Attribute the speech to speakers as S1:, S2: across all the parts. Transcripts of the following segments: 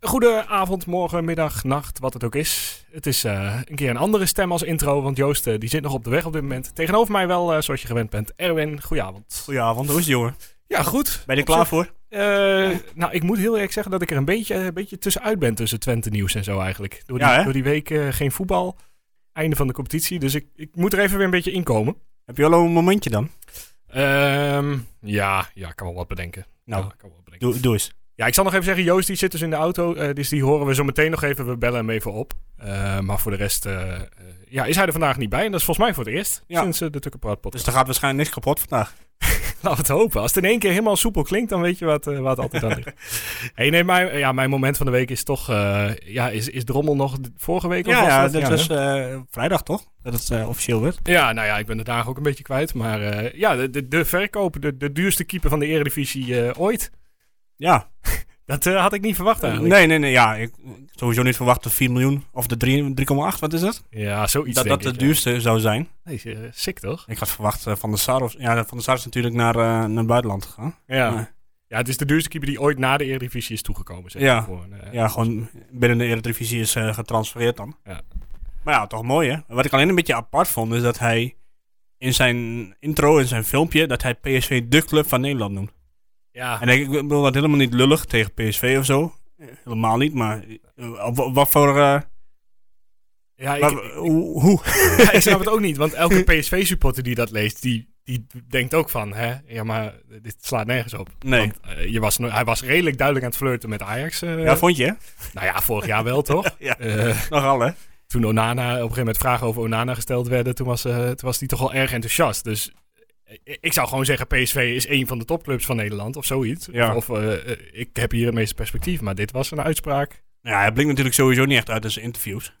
S1: Goedenavond, morgen, middag, nacht, wat het ook is. Het is eh, een keer een andere stem als intro, want Joost eh, die zit nog op de weg op dit moment. Tegenover mij wel, eh, zoals je gewend bent, Erwin, goedenavond.
S2: Goedenavond, hoe is het jongen?
S1: Ja, goed.
S2: Ben je er klaar voor?
S1: Eh, nou, ik moet heel eerlijk zeggen dat ik er een beetje, een beetje tussenuit ben tussen Twente nieuws en zo eigenlijk. Door die,
S2: Ja, hè?
S1: door die week eh, geen voetbal, einde van de competitie, dus ik, ik moet er even weer een beetje inkomen.
S2: Heb je al een momentje dan?
S1: Ehm ja, ja, ik kan wel wat bedenken.
S2: Nou,
S1: Ja, ik kan wel wat bedenken.
S2: doe, doe eens.
S1: Ja, ik zal nog even zeggen, Joost die zit dus in de auto, eh, dus die horen we zo meteen nog even, we bellen hem even op. Eh, maar voor de rest eh, eh, ja, is hij er vandaag niet bij en dat is volgens mij voor het eerst
S2: Ja.
S1: sinds eh, de Tukkenpraat
S2: Dus
S1: podcast.
S2: er gaat waarschijnlijk niks kapot vandaag.
S1: Laten we het hopen. Als het in één keer helemaal soepel klinkt, dan weet je wat, eh, wat het altijd aan ligt. Hey, nee, mijn, ja, mijn moment van de week is toch, eh, ja, is, is Drommel nog d- vorige week? of
S2: Ja,
S1: was
S2: ja,
S1: dat?
S2: dat
S1: ja,
S2: was
S1: hè?
S2: eh, vrijdag toch? Dat het eh, officieel werd.
S1: ja, nou ja, ik ben de dagen ook een beetje kwijt. Maar eh, ja, de, de, de verkoop, de, de duurste keeper van de eredivisie eh, ooit.
S2: Ja.
S1: Dat eh, had ik niet verwacht eigenlijk.
S2: nee, nee, nee. Ja, ik sowieso niet verwacht dat 4 miljoen of de drie- 3,8, wat is dat?
S1: Ja, zoiets
S2: dat
S1: denk
S2: dat de
S1: ik, ja.
S2: duurste zou zijn.
S1: Nee, eh, sick toch?
S2: Ik had verwacht eh, van de SAR. Of, ja, van de SAR is natuurlijk naar, eh, naar het buitenland gegaan.
S1: Ja.
S2: Maar,
S1: ja, het is de duurste keeper die ooit na de Eredivisie is toegekomen. Zeg
S2: Ja.
S1: maar, voor een, eh,
S2: ja, gewoon binnen de Eredivisie is eh, getransfereerd dan.
S1: Ja.
S2: Maar ja, toch mooi hè. Wat ik alleen een beetje apart vond is dat hij in zijn intro, in zijn filmpje, dat hij PSV de club van Nederland noemt.
S1: ja.
S2: En ik, ik bedoel dat helemaal niet lullig tegen PSV of zo. Eh, Helemaal niet, maar eh, op wa- wat voor... eh,
S1: Ja, ik,
S2: waar- hoe? hoe?
S1: ja, ik snap het ook niet. Want elke PSV-supporter die dat leest, die, die denkt ook van... Hè, ja, maar dit slaat nergens op.
S2: Nee.
S1: Want, eh, je was, no- hij was redelijk duidelijk aan het flirten met Ajax. eh,
S2: ja, vond je? hè?
S1: Nou ja, vorig jaar wel, toch?
S2: Ja.
S1: Eh,
S2: Nogal, hè?
S1: toen Onana, op een gegeven moment vragen over Onana gesteld werden... toen was, eh, toen was die toch wel erg enthousiast. Dus eh, ik zou gewoon zeggen... PSV is één van de topclubs van Nederland of zoiets.
S2: Ja.
S1: Of eh, eh, ik heb hier het meeste perspectief. Maar dit was een uitspraak...
S2: Ja, hij blinkt natuurlijk sowieso niet echt uit in zijn interviews.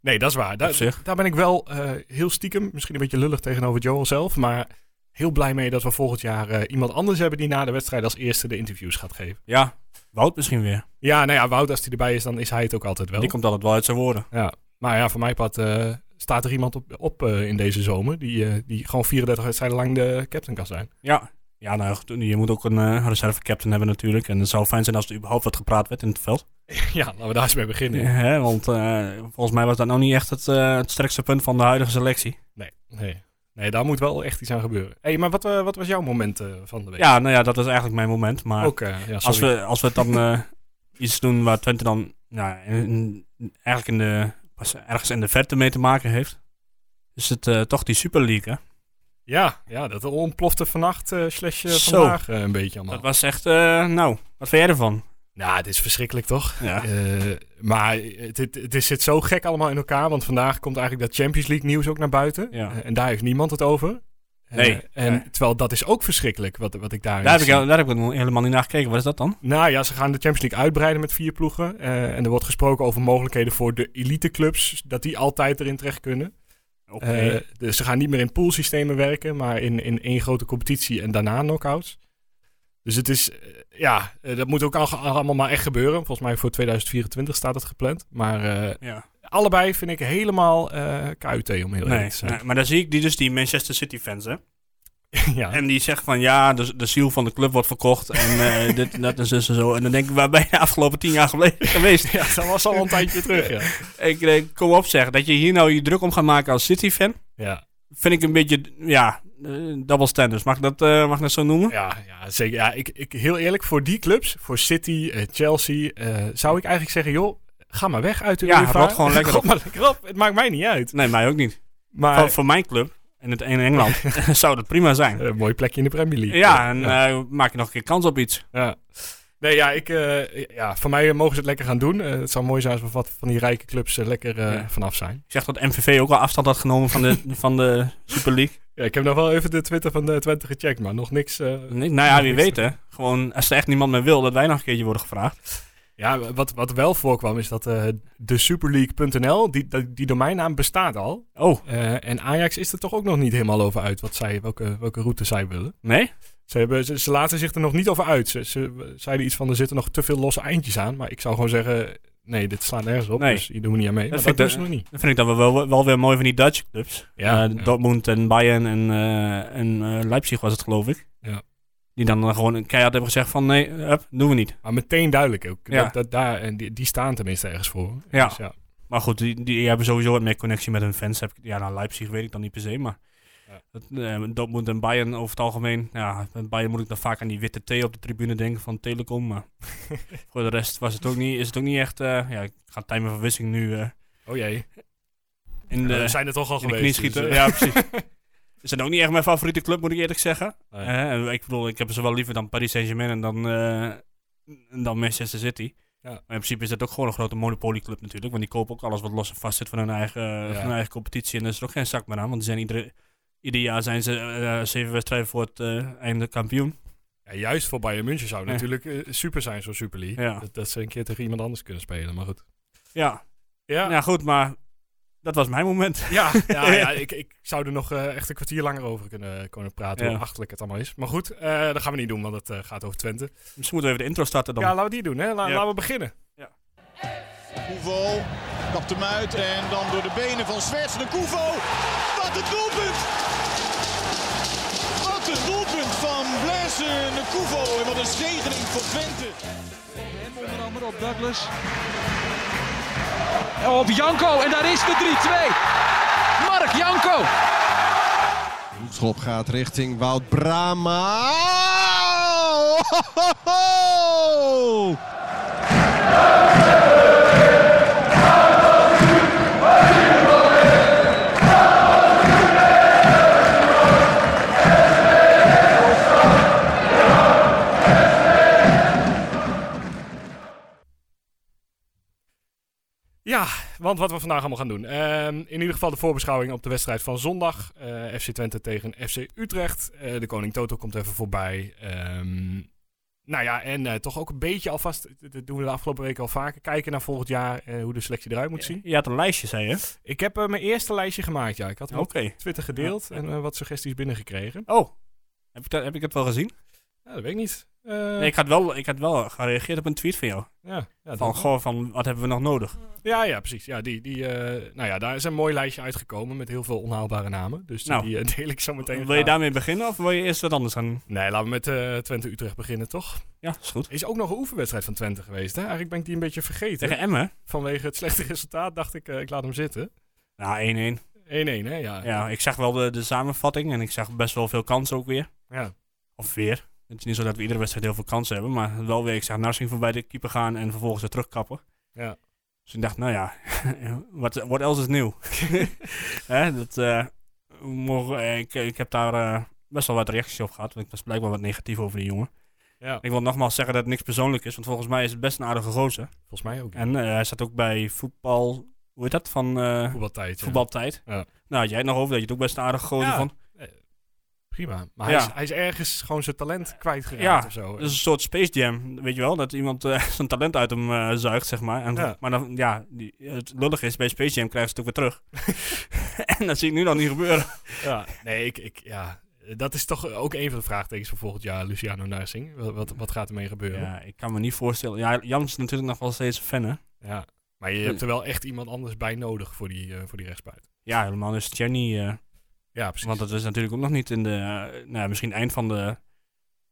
S1: Nee, dat is waar. Daar,
S2: Op zich.
S1: daar ben ik wel eh, heel stiekem, misschien een beetje lullig tegenover Joel zelf, maar heel blij mee dat we volgend jaar eh, iemand anders hebben die na de wedstrijd als eerste de interviews gaat geven.
S2: Ja, Wout misschien weer.
S1: Ja, nou ja, Wout, als hij erbij is, dan is hij het ook altijd wel.
S2: Die komt altijd wel uit zijn woorden.
S1: Ja. Maar ja, voor mij pad eh, staat er iemand op, op eh, in deze zomer die, eh, die gewoon 34 wedstrijden lang de captain kan zijn.
S2: Ja. Ja, nou, goed, je moet ook een eh, reserve-captain hebben natuurlijk. En het zou fijn zijn als er überhaupt wat gepraat werd in het veld.
S1: ja, laten we daar eens mee beginnen.
S2: Ja, hè, want eh, volgens mij was dat nou niet echt het, eh, het sterkste punt van de huidige selectie.
S1: Nee, nee. Nee, daar moet wel echt iets aan gebeuren. hey, maar wat, eh, wat was jouw moment eh, van de week?
S2: Ja, nou ja, dat is eigenlijk mijn moment. Maar
S1: Ook, eh, ja,
S2: als
S1: sorry.
S2: we, als we het dan eh, iets doen waar Twente dan nou, in- in- eigenlijk in de, pas ergens in de verte mee te maken heeft, is het eh, toch die Super League. Hè?
S1: ja, ja, dat ontplofte vannacht eh, slash eh,
S2: Zo.
S1: vandaag eh, een beetje allemaal.
S2: Dat was echt, eh, nou, wat vind jij ervan?
S1: Nou, het is verschrikkelijk toch?
S2: Ja.
S1: Eh, maar het, het, het is- zit zo gek allemaal in elkaar. Want vandaag komt eigenlijk dat Champions League nieuws ook naar buiten.
S2: Ja.
S1: Eh, en daar heeft niemand het over. Eh,
S2: Nee.
S1: en,
S2: Nee.
S1: Terwijl dat is ook verschrikkelijk wat, wat ik daarin
S2: Daar heb, ik,
S1: zie.
S2: daar heb ik nog helemaal niet naar gekeken. Wat is dat dan?
S1: Nou ja, ze gaan de Champions League uitbreiden met vier ploegen. Eh, en er wordt gesproken over mogelijkheden voor de eliteclubs. Dat die altijd erin terecht kunnen.
S2: Oké.
S1: Eh, dus ze gaan niet meer in poolsystemen werken, maar in, in één grote competitie en daarna knockouts. Dus het is, eh, ja, eh, dat moet ook al, allemaal maar echt gebeuren. Volgens mij voor 2024 staat het gepland. Maar eh,
S2: ja.
S1: allebei vind ik helemaal eh KUT, om heel
S2: Nee,
S1: eerlijk te zijn.
S2: nee, maar dan zie ik die, dus die Manchester City fans, hè.
S1: ja.
S2: En die zeggen van, ja, de, de ziel van de club wordt verkocht en eh, dit en dat en zus en zo. En dan denk ik, waar ben je de afgelopen tien jaar gele- geweest?
S1: ja, dat was al een tijdje terug, ja.
S2: Ik denk, kom op zeg, dat je hier nou je druk om gaat maken als City-fan.
S1: Ja,
S2: vind ik een beetje, ja, eh, double standards. Mag ik dat, eh, mag ik dat zo noemen?
S1: ja, ja zeker. Ja, ik, ik, heel eerlijk, voor die clubs, voor City, eh, Chelsea, eh, zou ik eigenlijk zeggen, joh, ga maar weg uit de
S2: Ja,
S1: UEFA.
S2: rot gewoon lekker
S1: Rot
S2: op.
S1: maar lekker op. Het maakt mij niet uit.
S2: Nee, mij ook niet.
S1: Maar
S2: voor, voor mijn club, in het ene Engeland, zou dat prima zijn.
S1: eh, een mooi plekje in de Premier League.
S2: Ja, en eh, maak je nog een keer kans op iets.
S1: Ja. Nee, ja, ik, eh, ja, voor mij eh, mogen ze het lekker gaan doen. Eh, het zou mooi zijn als we wat van die rijke clubs eh, lekker eh,
S2: Ja.
S1: vanaf zijn.
S2: Ik zeg dat MVV ook al afstand had genomen van de, van de Super League.
S1: Ja, ik heb nog wel even de Twitter van de Twente gecheckt, maar nog niks. eh,
S2: Nee, nou ja, wie weet hè. Gewoon, als er echt niemand meer wil, dat wij nog een keertje worden gevraagd.
S1: ja, wat, wat wel voorkwam is dat eh de Superleague.nl, die, die, die domeinnaam bestaat al.
S2: Oh,
S1: Eh, en Ajax is er toch ook nog niet helemaal over uit wat zij, welke, welke route zij willen.
S2: nee?
S1: Ze, hebben, ze, ze laten zich er nog niet over uit. Ze, ze zeiden iets van, er zitten nog te veel losse eindjes aan. Maar ik zou gewoon zeggen, nee, dit slaat nergens op.
S2: Nee.
S1: Dus je doet niet aan mee. Maar Dat,
S2: Dat vind ik
S1: doen
S2: de-
S1: ze nog niet.
S2: Dan vind ik dat we wel, wel weer mooi van die Dutch clubs.
S1: Ja,
S2: Eh,
S1: ja.
S2: Dortmund en Bayern en, eh, en eh, Leipzig was het geloof ik.
S1: Ja.
S2: Die Die dan eh, gewoon keihard hebben gezegd van nee, hup, doen we niet.
S1: Maar meteen duidelijk ook.
S2: Ja.
S1: Dat, dat, daar, en die, die staan tenminste ergens voor.
S2: Ja.
S1: Dus ja.
S2: Maar goed, die, die hebben sowieso wat meer connectie met hun fans. Heb ik, ja, naar Leipzig weet ik dan niet per se, maar...
S1: Ja.
S2: Dat, eh, Dortmund en Bayern over het algemeen. Ja, met Bayern moet ik dan vaak aan die witte thee op de tribune denken van Telekom. Maar voor de rest was het ook niet, is het ook niet echt... eh, ja, ik ga timer van Wissing nu eh,
S1: Oh jee.
S2: in
S1: Ja,
S2: de,
S1: we zijn er toch al
S2: in de
S1: geweest.
S2: knie schieten.
S1: dus, eh,
S2: ja, precies. Ze zijn ook niet echt mijn favoriete club, moet ik eerlijk zeggen.
S1: nee.
S2: Eh, en ik bedoel, ik heb ze wel liever dan Paris Saint-Germain en dan, eh, en dan Manchester City.
S1: Ja.
S2: Maar in principe is dat ook gewoon een grote monopolieclub natuurlijk. Want die kopen ook alles wat los en vast zit van hun eigen, eh, van hun eigen competitie. En daar is er ook geen zak meer aan. Want die zijn iedere, ieder jaar zijn ze eh, zeven wedstrijden voor het eh, einde kampioen.
S1: Ja, juist voor Bayern München zou het
S2: Ja.
S1: natuurlijk eh, super zijn, zo'n Super League.
S2: Ja.
S1: Dat, dat ze een keer tegen iemand anders kunnen spelen, maar goed.
S2: Ja.
S1: Ja,
S2: ja, goed, maar dat was mijn moment.
S1: ja, ja, ja, ik, ik zou er nog eh, echt een kwartier langer over kunnen, kunnen praten,
S2: Ja.
S1: hoe achterlijk het allemaal is. Maar goed, eh, dat gaan we niet doen, want het eh, gaat over Twente.
S2: Misschien moeten we even de intro starten dan.
S1: Ja, laten we die doen, hè. La-
S2: Ja.
S1: Laten we beginnen.
S3: Koevo kapt hem uit en dan door de benen van Zwerts de Koevo. Wat een doelpunt! Wat een doelpunt van Blaise de Koevo en wat een zegening voor Twente.
S4: Hem onder andere op Douglas. En Op Janko en daar is de 3-2. Mark Janko.
S5: Schop gaat richting Wout Brama.
S1: Ja, want wat we vandaag allemaal gaan doen. Ehm, in ieder geval de voorbeschouwing op de wedstrijd van zondag. Eh, FC Twente tegen FC Utrecht. Eh, de Koning Toto komt even voorbij. Ehm, nou ja, en eh, toch ook een beetje alvast, dat doen we de afgelopen weken al vaker, kijken naar volgend jaar eh, hoe de selectie eruit moet zien.
S2: Je had een lijstje, zei je?
S1: Ik heb eh, mijn eerste lijstje gemaakt, ja. Ik had hem
S2: Oké.
S1: op Twitter gedeeld en eh, wat suggesties binnengekregen.
S2: Oh, heb ik, dat, heb ik dat wel gezien?
S1: Ja, dat weet ik niet. Eh,
S2: Nee, ik, had wel, ik had wel gereageerd op een tweet van jou.
S1: ja, ja,
S2: Van,
S1: dat-
S2: goh, van, wat hebben we nog nodig?
S1: ja, ja, precies. Ja, die, die, eh, nou ja, daar is een mooi lijstje uitgekomen met heel veel onhaalbare namen. Dus die,
S2: Nou.
S1: die, eh, deel ik zo meteen.
S2: Wil je
S1: graag.
S2: daarmee beginnen of wil je eerst wat anders gaan?
S1: Nee, laten we met eh, Twente-Utrecht beginnen, toch?
S2: Ja, is goed.
S1: Er is ook nog een oefenwedstrijd van Twente geweest, hè? Eigenlijk ben ik die een beetje vergeten.
S2: Tegen Emmen?
S1: Vanwege het slechte resultaat dacht ik, eh, ik laat hem zitten. 1-1,
S2: Nou, 1-1.
S1: hè? Ja.
S2: Ja, ik zag wel de, de samenvatting en ik zag best wel veel kansen ook weer.
S1: Ja.
S2: Of weer. Het is niet zo dat we iedere wedstrijd heel veel kansen hebben, maar wel weer. Ik zag Narsing voorbij de keeper gaan en vervolgens weer terugkappen.
S1: Ja.
S2: Dus ik dacht, nou ja, wat what else is nieuw? Hè, dat, eh, we mogen, eh, ik, ik heb daar eh, best wel wat reacties op gehad, want ik was blijkbaar wat negatief over die jongen.
S1: Ja.
S2: Ik wil nogmaals zeggen dat het niks persoonlijk is, want volgens mij is het best een aardige gozer.
S1: Volgens mij ook.
S2: En eh, hij zat ook bij voetbal, hoe heet dat, van eh,
S1: Voetbaltijd. ja.
S2: voetbaltijd.
S1: Ja.
S2: Nou, had jij het nog over dat je het ook best een aardige gozer
S1: Ja.
S2: van.
S1: Prima. Maar hij,
S2: Ja.
S1: is, hij is ergens gewoon zijn talent kwijtgeraakt
S2: Ja, Dus-
S1: of zo.
S2: Dat is een soort Space Jam, weet je wel? Dat iemand eh, zijn talent uit hem eh, zuigt, zeg maar. En,
S1: Ja.
S2: Maar dan, ja, die, het lullig is, bij Space Jam krijgen ze het ook weer terug. en dat zie ik nu nog niet gebeuren.
S1: Ja, nee, ik, ik, ja. Dat is toch ook een van de vraagtekens voor volgend jaar, Luciano Narsing. Wat, wat, wat gaat ermee gebeuren? Ja.
S2: Ja, ik kan me niet voorstellen. Ja, Jans is natuurlijk nog wel steeds een fan, hè?
S1: Maar je hebt er wel echt iemand anders bij nodig voor die, eh voor die rechtsbuit.
S2: Ja, helemaal is Jenny. eh,
S1: Ja, precies.
S2: want dat is natuurlijk ook nog niet in de... eh, nou, ja, misschien eind van de,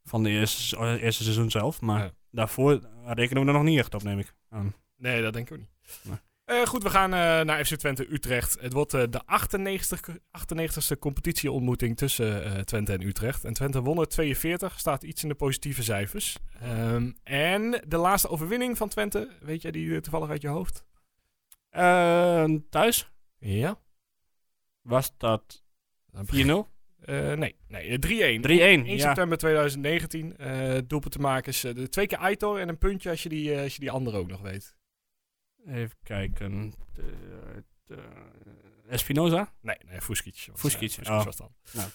S2: van de eerste, eh, eerste seizoen zelf. Maar
S1: Ja.
S2: daarvoor rekenen we er nog niet echt op, neem ik aan.
S1: Nee, dat denk ik ook niet.
S2: Nee.
S1: Eh, goed, we gaan eh, naar FC Twente Utrecht. Het wordt eh, de 98, 98ste competitieontmoeting tussen eh, Twente en Utrecht. En Twente won er 42, staat iets in de positieve cijfers. Ehm, en de laatste overwinning van Twente, weet jij die eh, toevallig uit je hoofd?
S2: Eh, thuis
S1: Ja.
S2: was dat 4-0.
S1: 4-0?
S2: 3-1.
S1: Eh, nee, nee eh, 3-1. 1
S2: ja.
S1: september 2019. eh doelpunt te maken is eh, de twee keer Aitor en een puntje als je die, eh, als je die andere ook nog weet.
S2: Even kijken. Eh, eh, Espinoza?
S1: Nee, nee, Fuskic. was,
S2: Fuskic,
S1: eh,
S2: oh.
S1: was dan.
S2: Nou.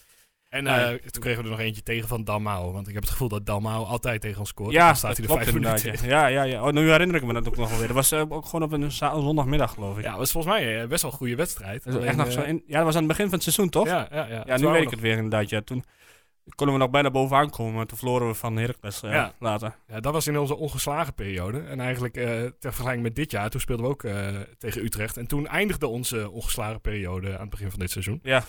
S1: En
S2: Nou,
S1: eh, toen kregen we er nog eentje tegen van Dalmau. Want ik heb het gevoel dat Dalmau altijd tegen ons scoort.
S2: ja,
S1: dan Oh, staat hij
S2: dat
S1: er vijf
S2: klopt inderdaad.
S1: minuten. in.
S2: Ja, ja, ja. Oh, nu herinner ik me dat ook nog wel weer. Dat was eh, ook gewoon op een za- zondagmiddag, geloof ik.
S1: Ja, was volgens mij eh, best wel een goede wedstrijd.
S2: dat, is echt
S1: Alleen,
S2: nog
S1: eh,
S2: zo in- ja, dat was aan het begin van het seizoen, toch?
S1: Ja, ja, ja.
S2: Ja,
S1: Toen
S2: nu
S1: waren
S2: weet
S1: we
S2: ik het weer inderdaad. Ja. Toen konden we nog bijna bovenaan komen, maar toen verloren we van Heracles eh,
S1: Ja.
S2: later.
S1: nog- ja, dat was in onze ongeslagen periode. En eigenlijk eh, ter vergelijking met dit jaar, toen speelden we ook eh, tegen Utrecht. En toen eindigde onze ongeslagen periode aan het begin van dit seizoen.
S2: Ja.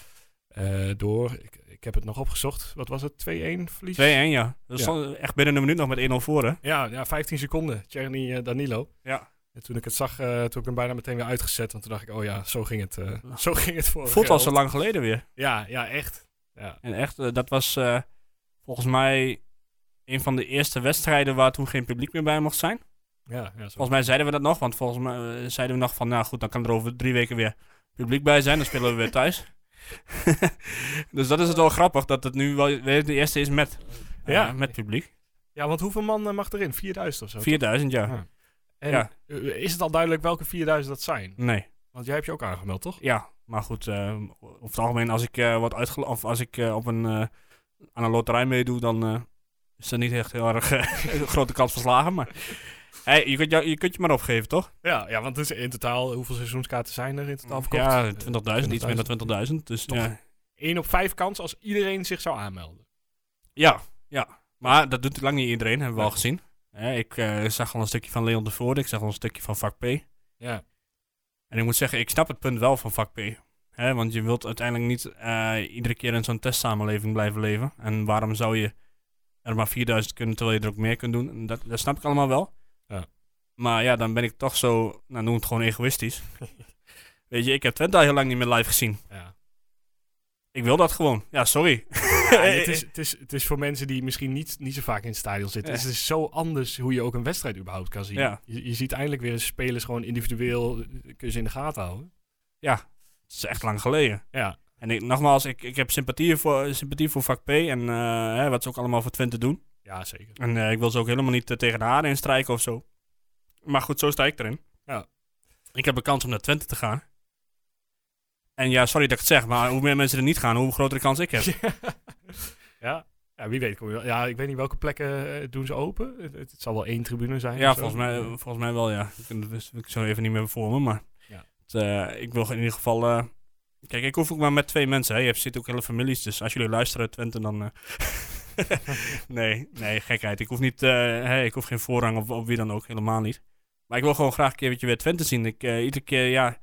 S1: Eh, eh, door, ik, ik heb het nog opgezocht, wat was het, 2-1 verlies?
S2: 2-1, ja. Oh, Dat
S1: Ja.
S2: stond echt binnen een minuut nog met 1-0 voor, hè?
S1: Ja, ja, 15 seconden, Tjerni eh, Danilo.
S2: Ja.
S1: En toen ik het zag, eh, toen heb ik hem bijna meteen weer uitgezet. Want toen dacht ik, oh ja, zo ging het, eh zo ging het voor.
S2: Voelt al zo lang geleden weer.
S1: Ja, ja, echt. Ja,
S2: En echt, eh, dat was eh, volgens mij een van de eerste wedstrijden waar toen geen publiek meer bij mocht zijn.
S1: ja, ja zo.
S2: Volgens mij zeiden we dat nog, want volgens mij eh, zeiden we nog van, nou goed, dan kan er over drie weken weer publiek bij zijn, dan spelen we weer thuis. dus dat is het wel grappig, dat het nu wel weer de eerste is met, eh,
S1: Ja.
S2: met publiek.
S1: ja want hoeveel man eh, mag erin? 4000 of zo?
S2: 4000, ja.
S1: Ja. en,
S2: ja.
S1: eh, Is het al duidelijk welke 4000 dat zijn?
S2: Nee,
S1: Want jij hebt je ook aangemeld, toch?
S2: ja. Maar goed, eh, over het algemeen, als ik, eh, wat uitgel of als ik eh, op een, eh, aan een loterij meedoe, dan eh, is dat niet echt heel erg eh, een grote kans verslagen. Maar hey, je, kunt jou- je kunt je maar opgeven, toch?
S1: Ja, ja want het is in totaal, hoeveel seizoenskaarten zijn er in totaal verkocht?
S2: Ja,
S1: Eh,
S2: 20.000, iets minder dan 20.000. Dus
S1: Toch.
S2: ja,
S1: Eén op vijf kans als iedereen zich zou aanmelden.
S2: Ja, ja. Maar dat doet lang niet iedereen, hebben we
S1: Nee.
S2: al gezien. Hè, ik eh, zag al een stukje van Leon de Voorde, ik zag al een stukje van vak P.
S1: Ja,
S2: En ik moet zeggen, ik snap het punt wel van vak P. Hè, want je wilt uiteindelijk niet eh, iedere keer in zo'n testsamenleving blijven leven. En waarom zou je er maar 4000 kunnen, terwijl je er ook meer kunt doen? En Dat, dat snap ik allemaal wel.
S1: Ja.
S2: Maar ja, dan ben ik toch zo, nou noem het gewoon egoïstisch. Weet je, ik heb Twente al heel lang niet meer live gezien.
S1: ja.
S2: Ik wil dat gewoon. Ja, sorry.
S1: En het, is, het, is, het is voor mensen die misschien niet, niet zo vaak in het stadion zitten.
S2: Ja.
S1: Dus het is zo anders hoe je ook een wedstrijd überhaupt kan zien.
S2: Ja.
S1: Je, je ziet eindelijk weer spelers gewoon individueel, eh, kun je ze in de gaten houden.
S2: Het is echt lang geleden.
S1: Ja,
S2: En ik, nogmaals, ik, ik heb sympathie voor, sympathie voor vak P en eh, hè, wat ze ook allemaal voor Twente doen.
S1: ja zeker.
S2: En eh, ik wil ze ook helemaal niet eh, tegen de haren instrijken of zo. Maar goed, zo sta ik erin.
S1: Ja.
S2: Ik heb een kans om naar Twente te gaan. En ja, sorry dat ik het zeg, maar hoe meer mensen er niet gaan, hoe grotere kans ik heb.
S1: ja. ja, wie weet. Kom je wel. Ja, ik weet niet welke plekken eh, doen ze open. Het, het zal wel één tribune zijn.
S2: Ja,
S1: of zo.
S2: volgens mij,
S1: eh,
S2: volgens mij wel, ja. Ik, dat wist ik zo even niet meer voor me, maar...
S1: Ja.
S2: het, eh, ik wil in ieder geval... eh, kijk, ik hoef ook maar met twee mensen, hè. Je hebt- zit ook hele families, dus als jullie luisteren uit Twente, dan... eh, nee, nee, gekheid. Ik hoef, niet, eh, hè, ik hoef geen voorrang op, op wie dan ook, helemaal niet. Maar ik wil gewoon graag een keer weer Twente zien. Ik, eh, iedere keer, ja...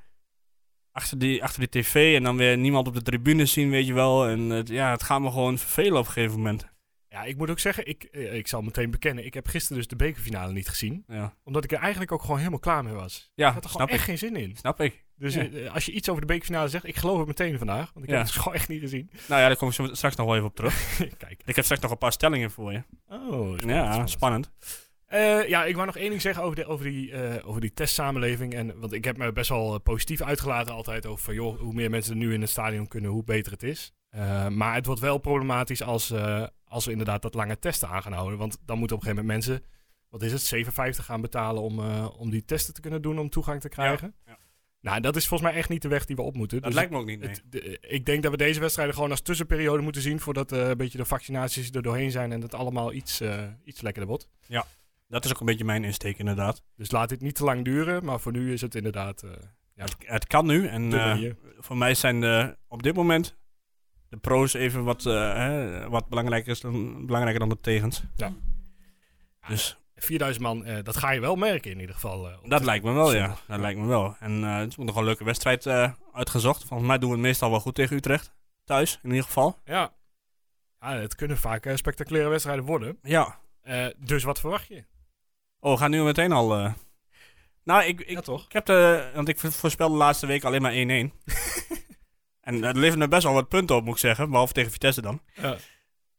S2: Achter die, achter die tv en dan weer niemand op de tribune zien, weet je wel. En het- ja, het gaat me gewoon vervelen op een gegeven moment.
S1: Ja, ik moet ook zeggen, ik, eh, ik zal meteen bekennen. Ik heb gisteren dus de bekerfinale niet gezien.
S2: Ja,
S1: Omdat ik er eigenlijk ook gewoon helemaal klaar mee was.
S2: ja
S1: ik had er gewoon
S2: snap,
S1: echt
S2: ik,
S1: geen zin in.
S2: snap ik.
S1: Dus
S2: Ja.
S1: eh, als je iets over de bekerfinale zegt, ik geloof het meteen vandaag. Want ik
S2: Ja.
S1: heb het gewoon echt niet gezien.
S2: Nou ja, daar kom ik zo straks nog wel even op terug.
S1: Kijk.
S2: ik heb straks nog een paar stellingen voor je.
S1: Oh,
S2: ja, spannend.
S1: Eh, ja, ik wou nog één ding zeggen over, de, over, die, eh, over die testsamenleving. En, want ik heb me best wel eh, positief uitgelaten altijd over van, joh, hoe meer mensen er nu in het stadion kunnen, hoe beter het is. Eh, maar het wordt wel problematisch als, eh, als we inderdaad dat lange testen aan gaan houden. Want dan moeten op een gegeven moment mensen, wat is het, 57 gaan betalen om, eh, om die testen te kunnen doen om toegang te krijgen.
S2: Ja, ja.
S1: Nou, dat is volgens mij echt niet de weg die we op moeten.
S2: Dat
S1: Dus
S2: lijkt me ook niet, nee.
S1: het- de- ik denk dat we deze wedstrijden gewoon als tussenperiode moeten zien voordat eh, een beetje de vaccinaties er doorheen zijn en dat allemaal iets, eh, iets lekkerder wordt.
S2: dat is ook een beetje mijn insteek, inderdaad.
S1: Dus laat dit niet te lang duren, maar voor nu is het inderdaad eh Ja.
S2: Het, het kan nu. En
S1: de
S2: eh,
S1: manier.
S2: voor mij zijn de, op dit moment de pro's even wat, eh, hè, wat belangrijker, is dan, belangrijker dan de tegens.
S1: Ja.
S2: Dus
S1: 4000 man, eh, dat ga je wel merken in ieder geval. eh, op
S2: dat
S1: de-
S2: lijkt me wel, ja.
S1: zondag.
S2: Dat lijkt me wel. En eh, het is ook nog een leuke wedstrijd eh, uitgezocht. Volgens mij doen we het meestal wel goed tegen Utrecht. Thuis, in ieder geval.
S1: Ja. ja, het kunnen vaak eh, spectaculaire wedstrijden worden.
S2: Ja.
S1: Eh, dus wat verwacht je?
S2: Oh, we gaan nu meteen al... eh. Nou, ik, ik,
S1: ja, toch?
S2: Ik heb de, want ik vo- voorspelde de laatste week alleen maar 1-1. en dat levert me best wel wat punten op, moet ik zeggen. Behalve tegen Vitesse dan.
S1: Ja.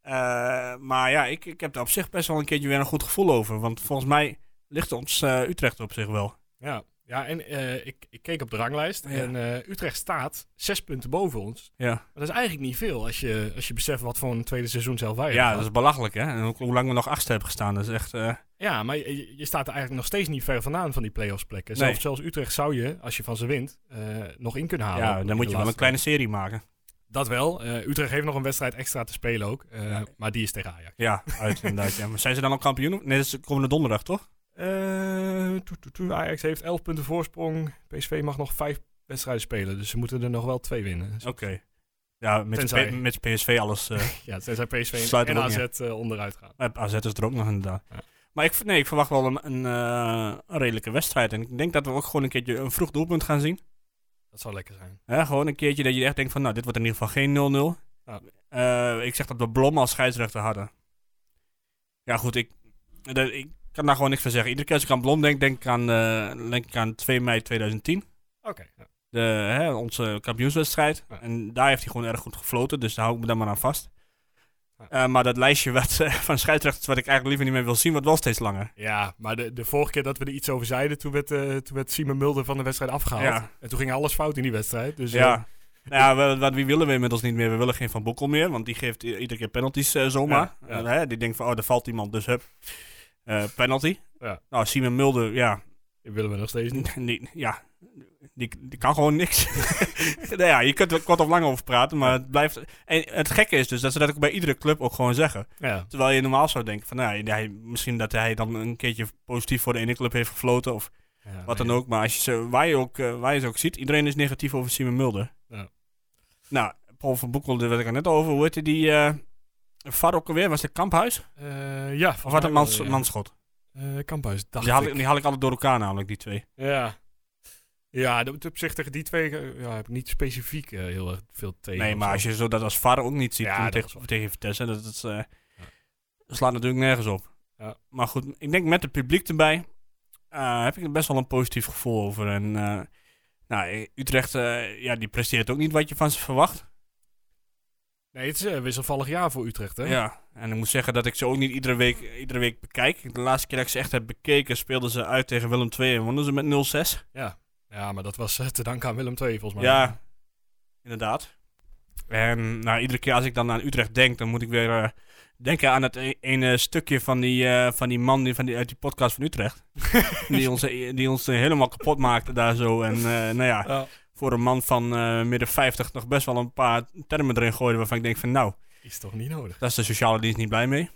S2: Eh, maar ja, ik, ik heb er op zich best wel een keertje weer een goed gevoel over. Want volgens mij ligt ons eh, Utrecht op zich wel.
S1: Ja, ja en eh, ik, ik keek op de ranglijst
S2: Ja.
S1: en eh, Utrecht staat zes punten boven ons.
S2: Ja,
S1: Maar dat is eigenlijk niet veel als je, als je beseft wat voor een tweede seizoen zelf wij hebben
S2: ja dat is belachelijk hè. En ook hoe lang we nog achter hebben gestaan. Dat is echt...
S1: Nou,
S2: eh,
S1: Ja, maar je, je staat er eigenlijk nog steeds niet ver vandaan van die play-offs plekken.
S2: Nee.
S1: Zelfs, zelfs Utrecht zou je, als je van ze wint, eh, nog in kunnen halen.
S2: ja,
S1: In de
S2: dan moet je wel
S1: laatste
S2: een kleine serie maken.
S1: Dat wel. Eh, Utrecht heeft nog een wedstrijd extra te spelen ook. eh,
S2: Ja.
S1: Maar die is tegen Ajax.
S2: Ja, uit inderdaad. Ja. Maar zijn ze dan al kampioen? Nee, dat is komende donderdag toch?
S1: Eh, toe, toe, toe. Ajax heeft 11 punten voorsprong. PSV mag nog 5 wedstrijden spelen. Dus ze moeten er nog wel 2 winnen.
S2: Oké. Ja, met,
S1: Tenzij-
S2: P- met PSV alles... eh,
S1: Ja, tenzij PSV en,
S2: Sluit
S1: en
S2: er ook
S1: AZ eh, onderuit gaan.
S2: Eh, AZ is er ook nog inderdaad.
S1: Ja.
S2: Maar ik, v- nee, ik verwacht wel een, een, eh, een redelijke wedstrijd. En ik denk dat we ook gewoon een keertje een vroeg doelpunt gaan zien.
S1: Dat zou lekker zijn.
S2: Hè, gewoon een keertje dat je echt denkt van, nou, dit wordt in ieder geval geen 0-0.
S1: Ja.
S2: Eh, ik zeg dat we Blom als scheidsrechter hadden. Ja, goed, ik, dat- ik kan daar gewoon niks van zeggen. Iedere keer als ik aan Blom denk, denk ik aan, eh, denk ik aan 2 mei 2010.
S1: Oké. ja.
S2: De, hè, onze kampioenswedstrijd.
S1: Ja.
S2: En daar heeft hij gewoon erg goed gefloten, dus daar hou ik me dan maar aan vast.
S1: Ja.
S2: Eh, maar dat lijstje wat, eh, van scheidsrechters wat ik eigenlijk liever niet meer wil zien, wordt wel steeds langer.
S1: Ja, maar de, de vorige keer dat we er iets over zeiden, toen werd, eh, toen werd Simon Mulder van de wedstrijd afgehaald.
S2: Ja.
S1: En toen ging alles fout in die wedstrijd. Dus eh,
S2: Ja. Nou ja, we- wat, wie willen we inmiddels niet meer? We willen geen Van Boekel meer, want die geeft i- iedere keer penalties eh, zomaar.
S1: Ja, ja.
S2: En, hè, die denkt van, oh, er valt iemand, dus hup, Eh, penalty.
S1: Ja.
S2: Nou, Simon Mulder, ja,
S1: die willen we nog steeds niet.
S2: die, ja die, die kan gewoon niks. nou ja, je kunt er kort of lang over praten, maar het blijft... En het gekke is dus dat ze dat ook bij iedere club ook gewoon zeggen.
S1: Ja.
S2: Terwijl je normaal zou denken van, nou, ja, hij, misschien dat hij dan een keertje positief voor de ene club heeft gefloten of
S1: Ja,
S2: wat
S1: nee.
S2: dan ook. Maar als je ze, waar, je ook, eh, waar je ze ook ziet, iedereen is negatief over Simon Mulder.
S1: Ja.
S2: Nou, Paul van Boekel, daar werd ik er net over. Hoe heette die eh VAR ook alweer? Was het Kamphuis?
S1: Eh, ja,
S2: Of wat een mans, manschot?
S1: Eh, Kamphuis, dacht
S2: Die haal,
S1: ik.
S2: ik, die haal ik altijd door elkaar namelijk, die twee.
S1: Ja. Ja, de- ten opzichte tegen die twee eh, ja, heb ik niet specifiek eh, heel erg veel tegen.
S2: nee,
S1: of
S2: maar
S1: zo.
S2: als je zo dat als VAR ook niet ziet
S1: Ja,
S2: toen
S1: dat is
S2: tegen,
S1: waar.
S2: tegen Vitesse, dat, is, eh, slaat natuurlijk nergens op.
S1: Ja.
S2: Maar goed, ik denk met het publiek erbij eh, heb ik er best wel een positief gevoel over. En eh, nou, eh, Utrecht, eh, ja, die presteert ook niet wat je van ze verwacht.
S1: Nee, het is een wisselvallig jaar voor Utrecht, hè?
S2: Ja, en ik moet zeggen dat ik ze ook niet iedere week, iedere week bekijk. De laatste keer dat ik ze echt heb bekeken, speelden ze uit tegen Willem II en wonnen ze met 0-6.
S1: Ja, maar dat was eh, te danken aan Willem II, volgens mij.
S2: Ja, inderdaad. En nou, iedere keer als ik dan aan Utrecht denk, dan moet ik weer eh, denken aan het e- ene stukje van die, eh, van die man die, van die, uit die podcast van Utrecht. die ons, eh, die ons eh, helemaal kapot maakte daar zo. En eh, nou ja,
S1: Ja.
S2: voor een man van eh, midden 50 nog best wel een paar termen erin gooide waarvan ik denk van nou,
S1: Is toch niet nodig?
S2: daar is de sociale dienst niet blij mee.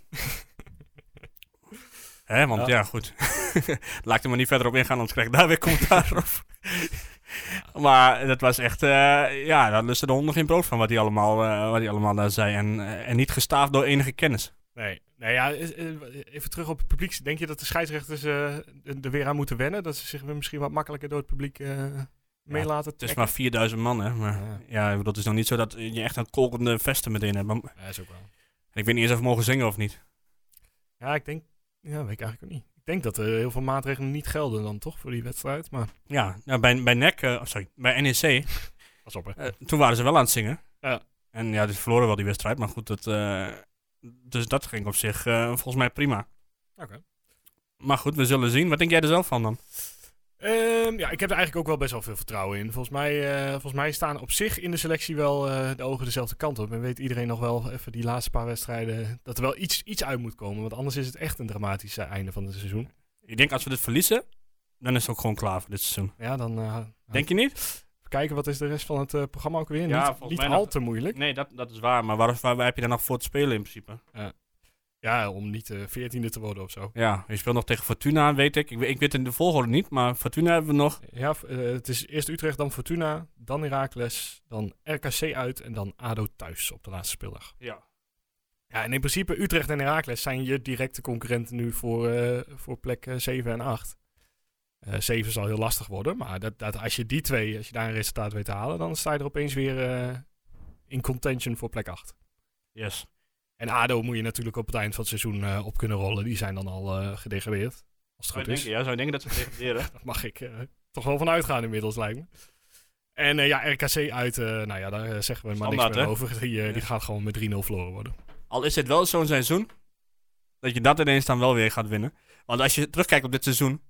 S2: Hè, want ja,
S1: Ja.
S2: goed. Laat ik er maar niet verder op ingaan, anders krijg ik daar weer commentaar op. maar dat was echt, eh, ja, daar lusten de honden geen brood van wat hij allemaal, eh, wat hij allemaal daar zei. En, eh, en niet gestaafd door enige kennis.
S1: Nee. Nou ja, is- eh, even terug op het publiek. Denk je dat de scheidsrechters eh, er weer aan moeten wennen? Dat ze zich weer misschien wat makkelijker door het publiek eh meelaten?
S2: Het is maar 4000 man, hè. Maar
S1: Ja.
S2: ja, dat is nog niet zo dat je echt een kolkende vesten meteen hebt. Maar
S1: Ja, is ook wel.
S2: Ik weet niet eens of we mogen zingen of niet.
S1: Ja, ik denk... Ja, weet ik eigenlijk ook niet. Ik denk dat er heel veel maatregelen niet gelden dan, toch? Voor die wedstrijd, maar...
S2: Ja, nou, bij, bij NEC, eh, sorry, bij NEC
S1: Pas op, hè.
S2: Eh, toen waren ze wel aan het zingen.
S1: Ja.
S2: En ja, dus verloren wel die wedstrijd. Maar goed, dat, eh, dus dat ging op zich eh, volgens mij prima.
S1: Oké.
S2: Maar goed, we zullen zien. Wat denk jij er zelf van dan?
S1: Ehm, ja, ik heb er eigenlijk ook wel best wel veel vertrouwen in. Volgens mij, eh, volgens mij staan op zich in de selectie wel eh, de ogen dezelfde kant op. En weet iedereen nog wel even die laatste paar wedstrijden dat er wel iets, iets uit moet komen. Want anders is het echt een dramatisch eh, einde van het seizoen.
S2: Ik denk als we dit verliezen, dan is het ook gewoon klaar voor dit seizoen.
S1: Ja, dan eh,
S2: Denk je niet?
S1: even kijken wat is de rest van het eh, programma ook weer.
S2: Ja,
S1: niet
S2: volgens
S1: niet
S2: mij
S1: al
S2: nog-
S1: te moeilijk.
S2: Nee, dat, dat is waar. Maar waar, waar, waar heb je daar nog voor te spelen in principe?
S1: Ja, om niet eh, veertiende te worden of zo.
S2: Ja, je speelt nog tegen Fortuna, weet ik. Ik, weet- ik weet in de volgorde niet, maar Fortuna hebben we nog.
S1: Ja, v- eh, het is eerst Utrecht, dan Fortuna, dan Heracles, dan RKC uit en dan ADO thuis op de laatste speeldag.
S2: Ja.
S1: Ja, en in principe Utrecht en Heracles zijn je directe concurrenten nu voor, eh, voor plek eh, 7 en 8. Eh 7 zal heel lastig worden, maar dat, dat, als je die twee, als je daar een resultaat weet te halen, dan sta je er opeens weer eh, in contention voor plek 8.
S2: Yes.
S1: En ADO moet je natuurlijk op het eind van het seizoen eh, op kunnen rollen. Die zijn dan al eh gedegradeerd, als het
S2: Zou
S1: goed
S2: je,
S1: is.
S2: denken, ja, zou je denken dat ze degraderen?
S1: Daar mag ik eh, toch wel van uitgaan inmiddels, lijkt me. En eh, ja, RKC uit, eh, nou ja, daar eh, zeggen we maar
S2: Standaard,
S1: niks meer
S2: hè?
S1: over. Die, eh, die gaat gewoon met 3-0 verloren worden.
S2: Al is het wel zo'n seizoen, dat je dat ineens dan wel weer gaat winnen. Want als je terugkijkt op dit seizoen,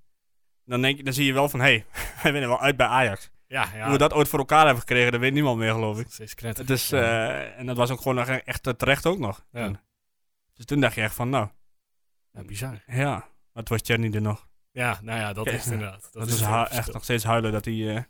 S2: dan, denk je, dan zie je wel van, hé, hey, wij winnen wel uit bij Ajax.
S1: Ja, ja.
S2: Hoe we dat ooit voor elkaar hebben gekregen, dat weet niemand meer, geloof ik.
S1: dat is knetter.
S2: Het is, eh, en dat was ook gewoon nog echt eh, terecht ook nog.
S1: Ja.
S2: Toen. Dus toen dacht je echt van, nou,
S1: Ja, bizar.
S2: ja, maar het was Tjerni er nog.
S1: Ja, nou ja, dat
S2: Ja.
S1: is het inderdaad. Dat,
S2: Dat,
S1: is
S2: is
S1: het
S2: hu-
S1: verschil.
S2: echt nog steeds huilen dat hij, eh,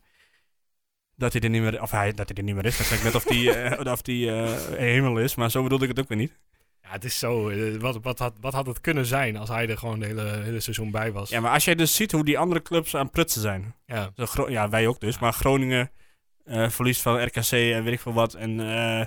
S2: dat hij er niet meer, of hij, dat hij er niet meer is. Dat zeg ik net of die, eh, of die eh, hemel is, maar zo bedoelde ik het ook weer niet.
S1: Ja, het is zo. eh, Wat, wat, had, wat had het kunnen zijn als hij er gewoon het hele, hele seizoen bij was?
S2: Ja, maar als jij dus ziet hoe die andere clubs aan het prutsen zijn.
S1: Ja.
S2: Zo Gro- ja, wij ook dus. Maar Groningen eh verliest van RKC en weet ik veel wat. En eh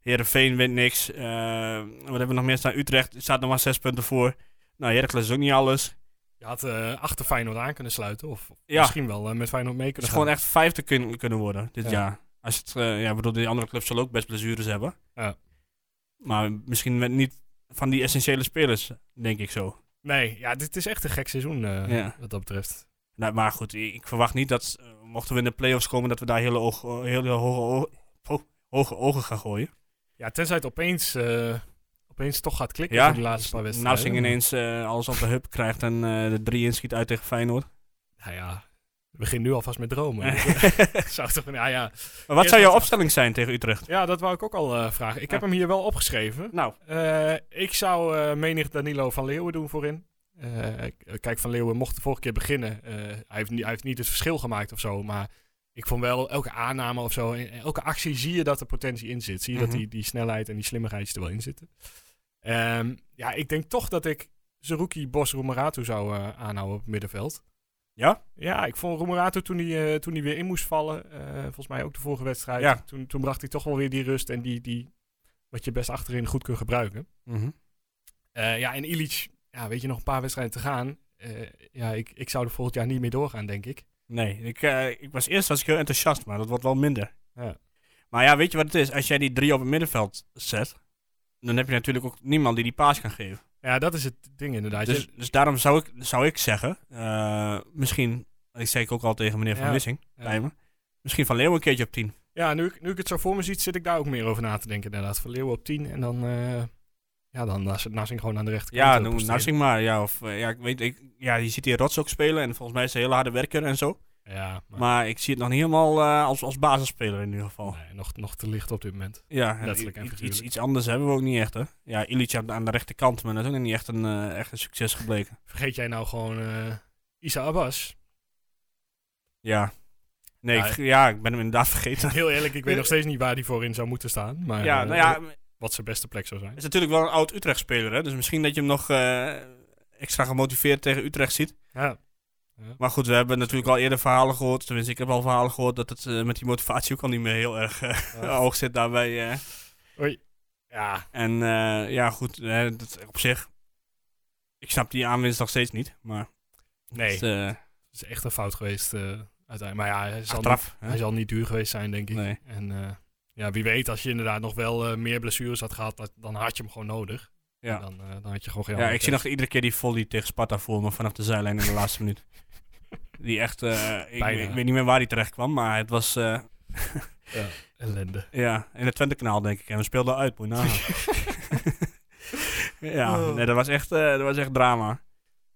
S2: Heerenveen wint niks. Eh, wat hebben we nog meer staan? Utrecht staat nog maar zes punten voor. Nou, Heracles is ook niet alles.
S1: Je had eh, achter Feyenoord aan kunnen sluiten. Of
S2: Ja.
S1: misschien wel eh, met Feyenoord mee
S2: Het is
S1: kunnen
S2: gewoon
S1: gaan.
S2: echt vijfde kun- kunnen worden dit
S1: Ja.
S2: jaar. Als het, eh, ja, ik bedoel, die andere clubs zullen ook best blessures hebben.
S1: Ja.
S2: Maar misschien met niet van die essentiële spelers, denk ik zo.
S1: Nee, ja, dit is echt een gek seizoen eh,
S2: Ja.
S1: wat dat betreft.
S2: Nou, maar goed, ik, ik verwacht niet dat, eh, mochten we in de play-offs komen, dat we daar hele, oog, eh, hele hoge, oog- po- hoge ogen gaan gooien.
S1: Ja, tenzij het opeens, eh, opeens toch gaat klikken
S2: Ja,
S1: voor de laatste paar wedstrijden.
S2: Narsing ineens eh, alles op de hub krijgt en eh, de drie inschiet uit tegen Feyenoord.
S1: Nou ja, we beginnen nu alvast met dromen. Zou toch, ja, ja.
S2: maar wat zou jouw opstelling zijn tegen Utrecht?
S1: ja, dat wou ik ook al eh, vragen. Ik heb
S2: Ja.
S1: hem hier wel opgeschreven.
S2: Nou,
S1: Eh, ik zou eh, menig Danilo van Leeuwen doen voorin. Eh, k- kijk, Van Leeuwen mocht de vorige keer beginnen. Eh, hij, heeft niet, hij heeft niet het verschil gemaakt of zo. Maar ik vond wel elke aanname of zo. en- en Elke actie zie je dat er potentie in zit. Zie je
S2: Mhm.
S1: dat die, die snelheid en die slimmigheid er wel in zitten. Ehm, ja, ik denk toch dat ik Zerouki Bos Roemeratu zou eh, aanhouden op het middenveld.
S2: Ja?
S1: Ja, ik vond Roemeratu toen hij, eh, toen hij weer in moest vallen. eh, volgens mij ook de vorige wedstrijd.
S2: Ja.
S1: Toen, toen bracht hij toch wel weer die rust en die, die, wat je best achterin goed kunt gebruiken. Eh, ja, en Illich, ja, weet je, nog een paar wedstrijden te gaan. Eh, ja, ik, ik zou er volgend jaar niet meer doorgaan, denk ik.
S2: nee, ik, eh, ik was eerst was ik heel enthousiast, maar dat wordt wel minder.
S1: Ja.
S2: Maar ja, weet je wat het is? Als jij die drie op het middenveld zet, dan heb je natuurlijk ook niemand die die paas kan geven.
S1: Ja, dat is het ding inderdaad.
S2: Dus, dus daarom zou ik, zou ik zeggen, eh, misschien, ik zei ik ook al tegen meneer
S1: Ja.
S2: Van Wissing,
S1: Ja.
S2: bij me, misschien Van Leeuwen een keertje op 10.
S1: ja, nu, ik- nu ik het zo voor me ziet, zit ik daar ook meer over na te denken inderdaad. Van Leeuwen op 10 en dan, eh ja, dan Nas- Narsing gewoon aan de rechterkant.
S2: Ja,
S1: eh,
S2: noem
S1: posteren.
S2: Narsing maar. Ja, of, eh, ja, ik weet, ik, ja, je ziet die Rots ook spelen en volgens mij is hij een hele harde werker en zo.
S1: Ja, maar,
S2: Maar ik zie het nog niet helemaal eh, als, als basisspeler in ieder geval.
S1: nee, nog, nog te licht op dit moment.
S2: Ja, en
S1: Letterlijk en
S2: i- i- iets,
S1: figuurlijk.
S2: iets anders hebben we ook niet echt, hè. Ja, Illich aan, aan de rechterkant, maar dat is ook nog niet echt een, eh, echt een succes gebleken.
S1: Vergeet jij nou gewoon eh Isa Abbas?
S2: Ja. Nee,
S1: Ja,
S2: ik, ja, ik ben hem inderdaad vergeten.
S1: Heel eerlijk, ik weet nog steeds niet waar die voorin zou moeten staan. Maar
S2: Ja,
S1: eh,
S2: nou ja,
S1: wat zijn beste plek zou zijn.
S2: is natuurlijk wel een oud Utrecht-speler, hè. Dus misschien dat je hem nog eh, extra gemotiveerd tegen Utrecht ziet.
S1: Ja,
S2: Maar goed, we hebben natuurlijk al eerder verhalen gehoord. Tenminste, ik heb al verhalen gehoord dat het eh, met die motivatie ook al niet meer heel erg eh,
S1: Ja.
S2: hoog zit daarbij. eh.
S1: ja
S2: En eh, ja, goed, eh, dat op zich. Ik snap die aanwinst nog steeds niet, maar...
S1: nee.
S2: Het, eh,
S1: Het is echt een fout geweest eh, uiteindelijk. Maar ja, hij zal,
S2: Achteraf,
S1: niet,
S2: hè?
S1: hij zal niet duur geweest zijn, denk ik.
S2: Nee.
S1: En eh, ja, wie weet, als je inderdaad nog wel eh, meer blessures had gehad, dat- dan had je hem gewoon nodig.
S2: Ja.
S1: En Dan, eh, dan had je gewoon geen
S2: ja,
S1: andere
S2: ik zie nog iedere keer die volley tegen Sparta voor me vanaf de zijlijn in de laatste minuut. Die echt, eh, ik,
S1: Bijna.
S2: ik weet niet meer waar die terecht kwam, maar het was eh,
S1: ellende.
S2: ja, in het Twente-kanaal, denk ik. En we speelden uit, moet je nagaan. ja,
S1: Oh.
S2: nee, dat, was echt, eh, dat was echt drama.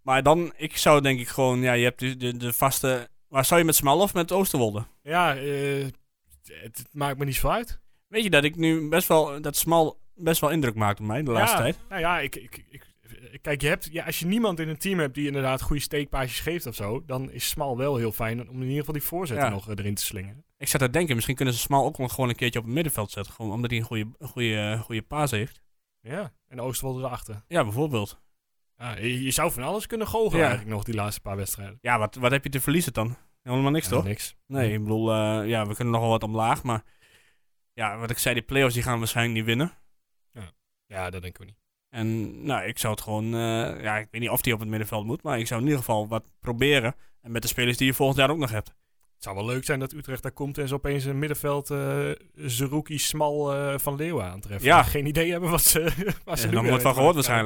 S2: Maar dan, ik zou denk ik gewoon, ja, je hebt de, de, de vaste... Waar zou je met Smal of met Oosterwolde?
S1: Ja, eh, het, het maakt me niet zoveel uit.
S2: Weet je dat ik nu best wel, dat Smal best wel indruk maakt op mij de laatste
S1: ja,
S2: tijd?
S1: Nou ja, ik, ik, ik, kijk, je hebt, ja, als je niemand in een team hebt die inderdaad goede steekpaasjes geeft of zo, dan is smal wel heel fijn om in ieder geval die voorzetten
S2: Ja.
S1: nog eh, erin te slingen.
S2: Ik zat te denken, misschien kunnen ze Smal ook wel gewoon een keertje op het middenveld zetten. Gewoon omdat hij een goede, goede, eh, goede paas heeft.
S1: Ja, en Oosterwolde erachter.
S2: Ja, bijvoorbeeld.
S1: Ja, je, je zou van alles kunnen goochelen
S2: Ja.
S1: eigenlijk nog die laatste paar wedstrijden.
S2: Ja, wat, wat heb je te verliezen dan? Helemaal niks,
S1: Ja,
S2: toch?
S1: Niks.
S2: Nee, ik bedoel, eh, ja, we kunnen nog wel wat omlaag, maar... Ja, wat ik zei, die play-offs die gaan we waarschijnlijk niet winnen.
S1: Ja, dat denken we niet.
S2: En nou, ik zou het gewoon... eh, ja, ik weet niet of die op het middenveld moet, maar ik zou in ieder geval wat proberen. En met de spelers die je volgend jaar ook nog hebt. Eh,
S1: Het zou wel leuk zijn dat Utrecht daar komt en ze opeens een middenveld eh Zerouki, Smal eh, van Leeuwen aantreffen.
S2: Ja.
S1: Geen idee hebben wat ze. Waar
S2: Ja,
S1: ze
S2: Daar
S1: nu
S2: hebben we
S1: weer
S2: nooit van
S1: mee
S2: gehoord
S1: gaan.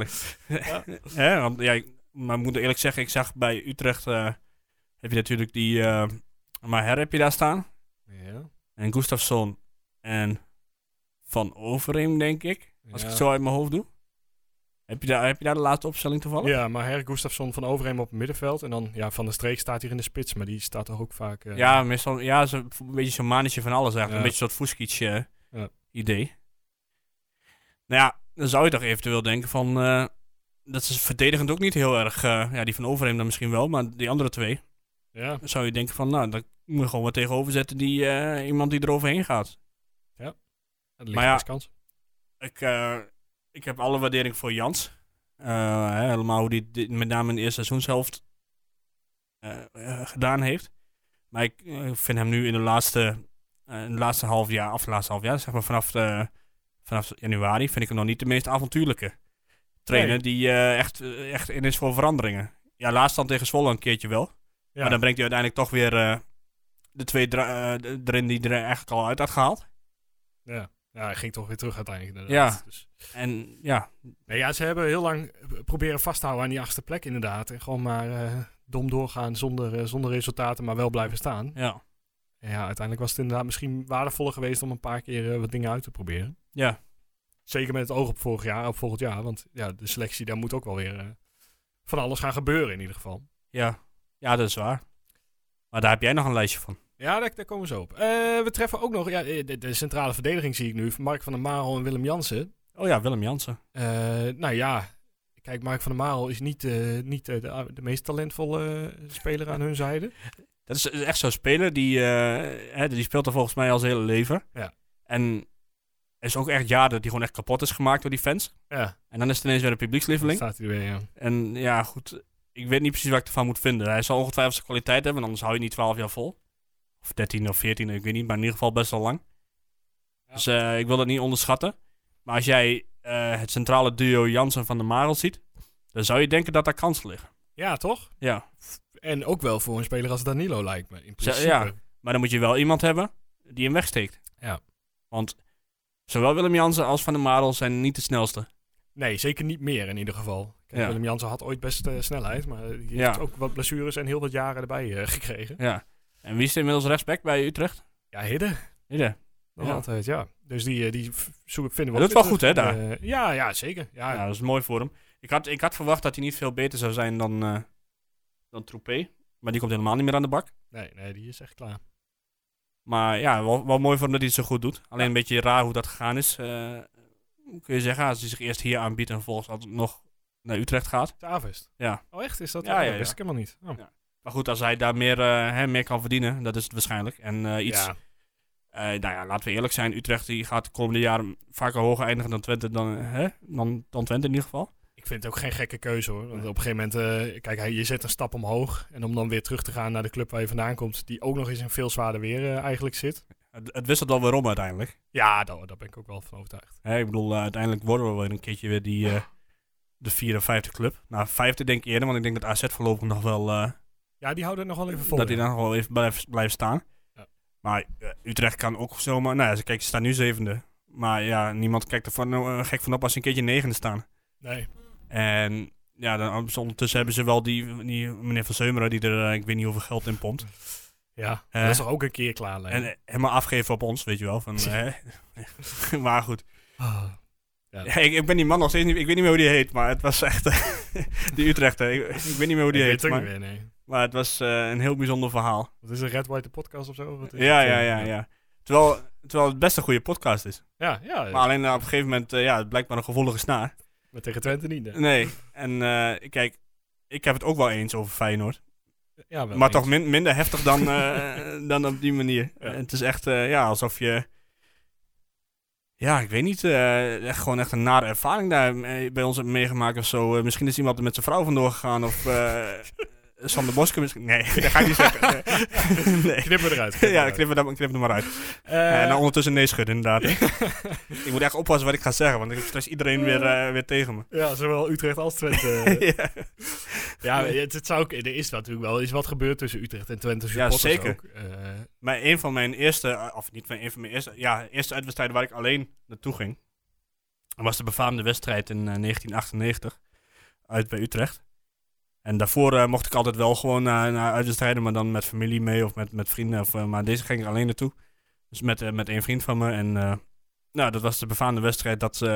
S2: waarschijnlijk. Hè, want, ja, ik- maar ik moet eerlijk zeggen, ik zag bij Utrecht... eh, heb je natuurlijk die... eh Maher heb je daar staan.
S1: Ja.
S2: En Gustafsson. En Van Overeem, denk ik. Als
S1: Ja.
S2: ik het zo uit mijn hoofd doe. Heb je daar, heb je daar de laatste opstelling toevallig?
S1: ja, maar Herk Gustafsson van Overheem op het middenveld. En dan ja, Van der Streek staat hier in de spits, maar die staat toch ook vaak. eh,
S2: Ja, meestal, ja zo, een beetje zo'n mannetje van alles eigenlijk.
S1: Ja.
S2: Een beetje zo'n Fuskic eh,
S1: Ja.
S2: idee. Nou ja, dan zou je toch eventueel denken van... eh, dat is verdedigend ook niet heel erg... eh, ja, die van Overheem dan misschien wel, maar die andere twee...
S1: ja.
S2: Dan zou je denken van, nou, dan moet je gewoon wat tegenover zetten die, eh, iemand die eroverheen gaat.
S1: Dat ligt
S2: Maar ja.
S1: best kans.
S2: Ik, eh, ik heb alle waardering voor Jans. Eh, hè, helemaal hoe die dit met name in de eerste seizoenshelft eh, eh, gedaan heeft. Maar ik eh, vind hem nu in de laatste, eh, in de laatste half jaar, of laatste half jaar, zeg maar vanaf, de, vanaf januari, vind ik hem nog niet de meest avontuurlijke trainer
S1: Nee.
S2: die eh, echt, eh, echt in is voor veranderingen. Ja, laatst dan tegen Zwolle een keertje wel.
S1: Ja.
S2: Maar dan brengt hij uiteindelijk toch weer eh, de twee dra- eh, de- erin die er eigenlijk al uit had gehaald.
S1: ja. ja, hij ging toch weer terug uiteindelijk. Inderdaad.
S2: Ja.
S1: Dus,
S2: En ja,
S1: nee, ja, ze hebben heel lang eh, proberen vast te houden aan die achtste plek inderdaad. En gewoon maar eh, dom doorgaan zonder, eh, zonder resultaten, maar wel blijven staan.
S2: ja,
S1: En ja, uiteindelijk was het inderdaad misschien waardevoller geweest om een paar keer eh, wat dingen uit te proberen.
S2: ja,
S1: Zeker met het oog op vorig jaar, op volgend jaar. Want ja, de selectie, daar moet ook wel weer eh, van alles gaan gebeuren in ieder geval.
S2: ja. Ja, dat is waar. Maar daar heb jij nog een lijstje van.
S1: Ja, daar, daar komen ze op. Eh, we treffen ook nog, ja, eh, de, de centrale verdediging zie ik nu, van Mark van der Marel en Willem Jansen.
S2: Oh ja, Willem Jansen.
S1: Eh, nou ja, kijk, Mark van der Marel is niet, eh, niet eh, de, de meest talentvolle eh, speler aan hun zijde.
S2: Dat is echt zo'n speler die, eh, hè, die speelt er volgens mij al zijn hele leven.
S1: Ja.
S2: En er is ook echt jaar dat hij gewoon echt kapot is gemaakt door die fans.
S1: Ja,
S2: En dan is het ineens weer een
S1: dan
S2: publiekslieveling.
S1: staat hij er weer, ja.
S2: En ja, goed. Ik weet niet precies wat ik ervan moet vinden. Hij zal ongetwijfeld zijn kwaliteit hebben, anders hou je niet 12 jaar vol. Of 13 of 14, ik weet niet, maar in ieder geval best wel lang.
S1: Ja.
S2: Dus eh, ik wil dat niet onderschatten. Maar als jij eh, het centrale duo Jansen van de Marel ziet, dan zou je denken dat daar kansen liggen.
S1: Ja, toch?
S2: Ja.
S1: En ook wel voor een speler als Danilo lijkt me, in principe.
S2: ja. Maar dan moet je wel iemand hebben die hem wegsteekt.
S1: Ja.
S2: Want zowel Willem Jansen als Van der Marel zijn niet de snelste.
S1: Nee, zeker niet meer in ieder geval. Kijk,
S2: Ja.
S1: Willem Jansen had ooit best eh, snelheid, maar die heeft
S2: Ja.
S1: ook wat blessures en heel wat jaren erbij eh, gekregen.
S2: Ja. En wie is er inmiddels rechtsback bij Utrecht?
S1: Ja, Hidde.
S2: Ieder.
S1: Nog
S2: Ja.
S1: altijd, ja. Dus die, eh, die v- zoeken, vinden we
S2: Hij
S1: ook
S2: doet
S1: weer
S2: wel
S1: terug.
S2: goed, hè,
S1: Eh, ja, ja, zeker. Ja,
S2: Ja, dat is mooi voor hem. Ik had, ik had verwacht dat hij niet veel beter zou zijn dan, eh dan Troepé. Maar die komt helemaal niet meer aan de bak.
S1: Nee, nee, die is echt klaar.
S2: Maar ja, wel, wel mooi voor hem dat hij het zo goed doet. Alleen een beetje raar hoe dat gegaan is. eh, hoe kun je zeggen, als hij zich eerst hier aanbiedt en vervolgens altijd nog naar Utrecht gaat.
S1: Tavest.
S2: Ja.
S1: Oh, echt? Is dat?
S2: Ja,
S1: Ja,
S2: ja,
S1: dat wist
S2: ja.
S1: ik helemaal niet. Oh.
S2: Ja. Maar goed, als hij daar meer, eh, hè, meer kan verdienen, dat is het waarschijnlijk. En eh, iets,
S1: Ja.
S2: eh, nou ja, laten we eerlijk zijn. Utrecht die gaat de komende jaren vaker hoger eindigen dan Twente, dan, eh, hè? dan, dan Twente in ieder geval.
S1: Ik vind het ook geen gekke keuze, hoor. Want op een gegeven moment, eh, kijk, hij- je zet een stap omhoog. En om dan weer terug te gaan naar de club waar je vandaan komt, die ook nog eens in veel zwaarder weer eh, eigenlijk zit.
S2: Het, het wisselt wel weer om uiteindelijk.
S1: Ja, daar, daar ben ik ook wel van overtuigd.
S2: Hè, ik bedoel, eh, uiteindelijk worden we weer een keertje weer die, eh, de vierde of vijfde club. Nou, vijfde denk ik eerder, want ik denk dat AZ voorlopig nog wel... eh,
S1: Ja, die houden het nog wel even vol.
S2: dat hij
S1: ja.
S2: dan nog wel even blijft, blijft staan.
S1: Ja.
S2: Maar eh, Utrecht kan ook zomaar... Nou ja, ze, kijk, ze staan nu zevende. Maar ja, niemand kijkt er van, eh, gek van op als ze een keertje negende staan.
S1: Nee.
S2: En ja, dan, ondertussen hebben ze wel die, die meneer Van Zeumeren die er eh, ik weet niet hoeveel geld in pompt.
S1: Ja,
S2: Eh.
S1: dat is toch ook een keer klaar, Leen?
S2: En eh, helemaal afgeven op ons, weet je wel. Van, eh, maar goed.
S1: Ah.
S2: Ja, ik, ik ben die man nog steeds niet. Ik weet niet meer hoe die heet, maar het was echt. eh, die Utrechter. Ik, ik weet niet meer hoe die
S1: Ik weet het ook
S2: heet. Maar,
S1: niet meer, nee.
S2: maar het was eh, een heel bijzonder verhaal.
S1: Wat is een Red White de podcast of zo? Wat is
S2: Ja,
S1: het,
S2: ja,
S1: eh?
S2: ja, ja. Terwijl, terwijl het best een goede podcast is.
S1: Ja, ja.
S2: Maar alleen eh, op een gegeven moment, eh, ja, het blijkt maar een gevoelige snaar.
S1: maar tegen Twente niet. hè?
S2: Nee. En eh, kijk, ik heb het ook wel eens over Feyenoord.
S1: Ja, wel
S2: maar
S1: eens.
S2: toch min- minder heftig dan, eh, dan op die manier.
S1: Ja.
S2: Het is echt, eh, ja, alsof je. Ja, ik weet niet. eh, echt gewoon echt een nare ervaring daar eh, bij ons hebt meegemaakt of zo. Eh, misschien is iemand er met zijn vrouw vandoor gegaan of eh Sander Boske misschien. Nee, dat ga ik niet zeggen. Nee. nee.
S1: Knip me eruit. knip me
S2: Ja,
S1: eruit.
S2: knip nou- er, dan- knip er maar uit.
S1: Eh,
S2: en dan ondertussen nee schudden, inderdaad. ik moet echt oppassen wat ik ga zeggen, want ik heb straks iedereen weer, eh, weer tegen me.
S1: ja, zowel Utrecht als Twente. eh,
S2: ja.
S1: ja, het, het zou ook, er is natuurlijk wel eens wat gebeurd tussen Utrecht en Twente. supporters
S2: zeker.
S1: ook. Eh,
S2: Maar een van mijn eerste, eh, of niet mijn, een van mijn eerste, ja, eerste uitwedstrijden waar ik alleen naartoe ging, was de befaamde wedstrijd in eh, 1998, uit bij Utrecht. En daarvoor eh, mocht ik altijd wel gewoon naar naar uitwedstrijden, maar dan met familie mee of met, met vrienden. Of, eh, maar deze ging ik alleen naartoe. Dus met, eh, met een vriend van me. En eh, nou, dat was de befaamde wedstrijd dat ze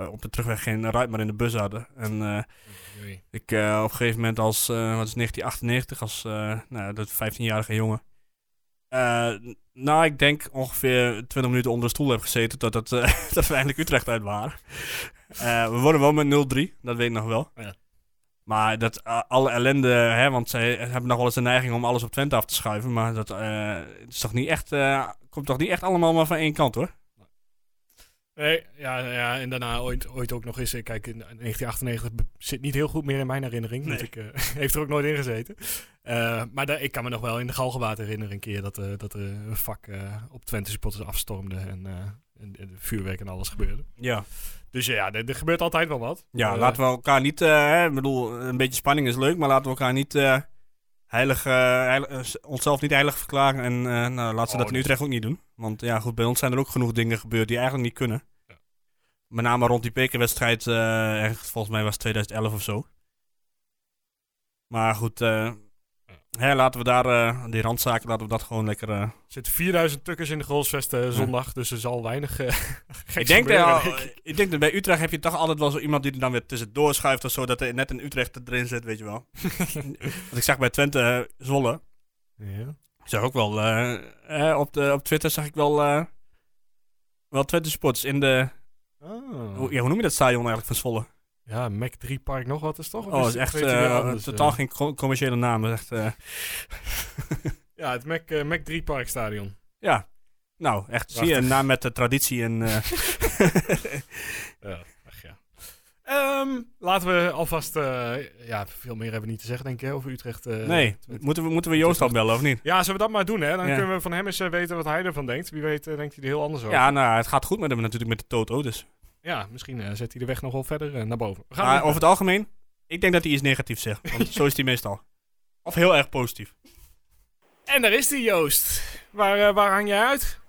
S2: eh, op de terugweg geen ruit maar in de bus hadden. En eh,
S1: oei.
S2: ik eh, op een gegeven moment als, eh, wat is het, 1998, als eh, nou, dat 15-jarige jongen. eh, nou, ik denk ongeveer 20 minuten onder de stoel heb gezeten dat, dat, eh, dat we eindelijk Utrecht uit waren. Eh, we worden wel met 0-3, dat weet ik nog wel.
S1: Ja.
S2: Maar dat eh, alle ellende, hè, want zij hebben nog wel eens de neiging om alles op Twente af te schuiven. Maar dat eh, het is toch niet echt, eh, komt toch niet echt allemaal maar van één kant hoor.
S1: Nee, ja, ja, en daarna ooit, ooit ook nog eens. eh, Kijk, in 1998 be- zit niet heel goed meer in mijn herinnering. want
S2: Nee.
S1: ik, eh, heeft er ook nooit in gezeten. Eh, maar daar- ik kan me nog wel in de Galgenwaard herinneren een keer dat, eh, dat er een vak eh, op Twente supporters afstormde. En eh, en, en vuurwerk en alles gebeurde.
S2: Ja,
S1: Dus ja, er, er gebeurt altijd wel wat.
S2: ja
S1: Eh,
S2: laten we elkaar niet... eh, hè, ik bedoel, een beetje spanning is leuk, maar laten we elkaar niet... eh, Heilig, eh, heilig- eh, s- onszelf niet heilig verklaren en eh, nou, laten ze
S1: Oh,
S2: dat in
S1: dat-
S2: Utrecht ook niet doen. Want ja, goed, bij ons zijn er ook genoeg dingen gebeurd die eigenlijk niet kunnen.
S1: Ja.
S2: Met name rond die bekerwedstrijd, eh, ergens, volgens mij was het 2011 of zo. Maar goed, eh, hè, laten we daar, eh, die randzaken, laten we dat gewoon lekker eh,
S1: Er zitten 4000 tukkers in de Grolsvesten zondag, dus er zal weinig eh, geks
S2: Ik denk,
S1: gebeuren,
S2: dat,
S1: denk ik.
S2: ik. denk dat bij Utrecht heb je toch altijd wel zo iemand die er dan weer tussendoor schuift of zo, dat er net een Utrecht erin zit, weet je wel. Want ik zag bij Twente eh, Zwolle,
S1: Ja.
S2: ik zag ook wel, eh, eh, op, de, op Twitter zag ik wel, eh, wel Twente sports in de,
S1: Oh.
S2: hoe, ja, hoe noem je dat stadion eigenlijk van Zwolle?
S1: Ja, Mac 3 Park nog wat is toch? Of
S2: Oh, dat is
S1: het-
S2: echt
S1: Oh, weet je weer
S2: eh,
S1: anders,
S2: totaal
S1: eh?
S2: geen co- commerciële naam, dat is echt, eh,
S1: Ja, het Mac, eh, Mac 3 Park Stadion.
S2: ja. Nou, echt, zie je, een naam met de traditie en... eh,
S1: Ja, ach ja. Ehm, laten we alvast... eh, ja, veel meer hebben we niet te zeggen, denk ik, hè, over Utrecht. eh,
S2: nee,
S1: Twente.
S2: moeten we, moeten we Joost al bellen of niet?
S1: Ja, zullen we dat maar doen, hè? Dan
S2: Ja.
S1: kunnen we van hem eens eh, weten wat hij ervan denkt. Wie weet eh, denkt hij er heel anders over.
S2: Ja, nou, het gaat goed met hem natuurlijk met de Toto, dus...
S1: Ja, misschien eh, zet hij de weg nog wel verder eh, naar boven. We gaan
S2: Maar
S1: even-
S2: over het algemeen, ik denk dat hij iets negatiefs zegt. Want zo is hij meestal. Of heel erg positief.
S1: En daar is die Joost. Waar, eh, waar hang jij uit?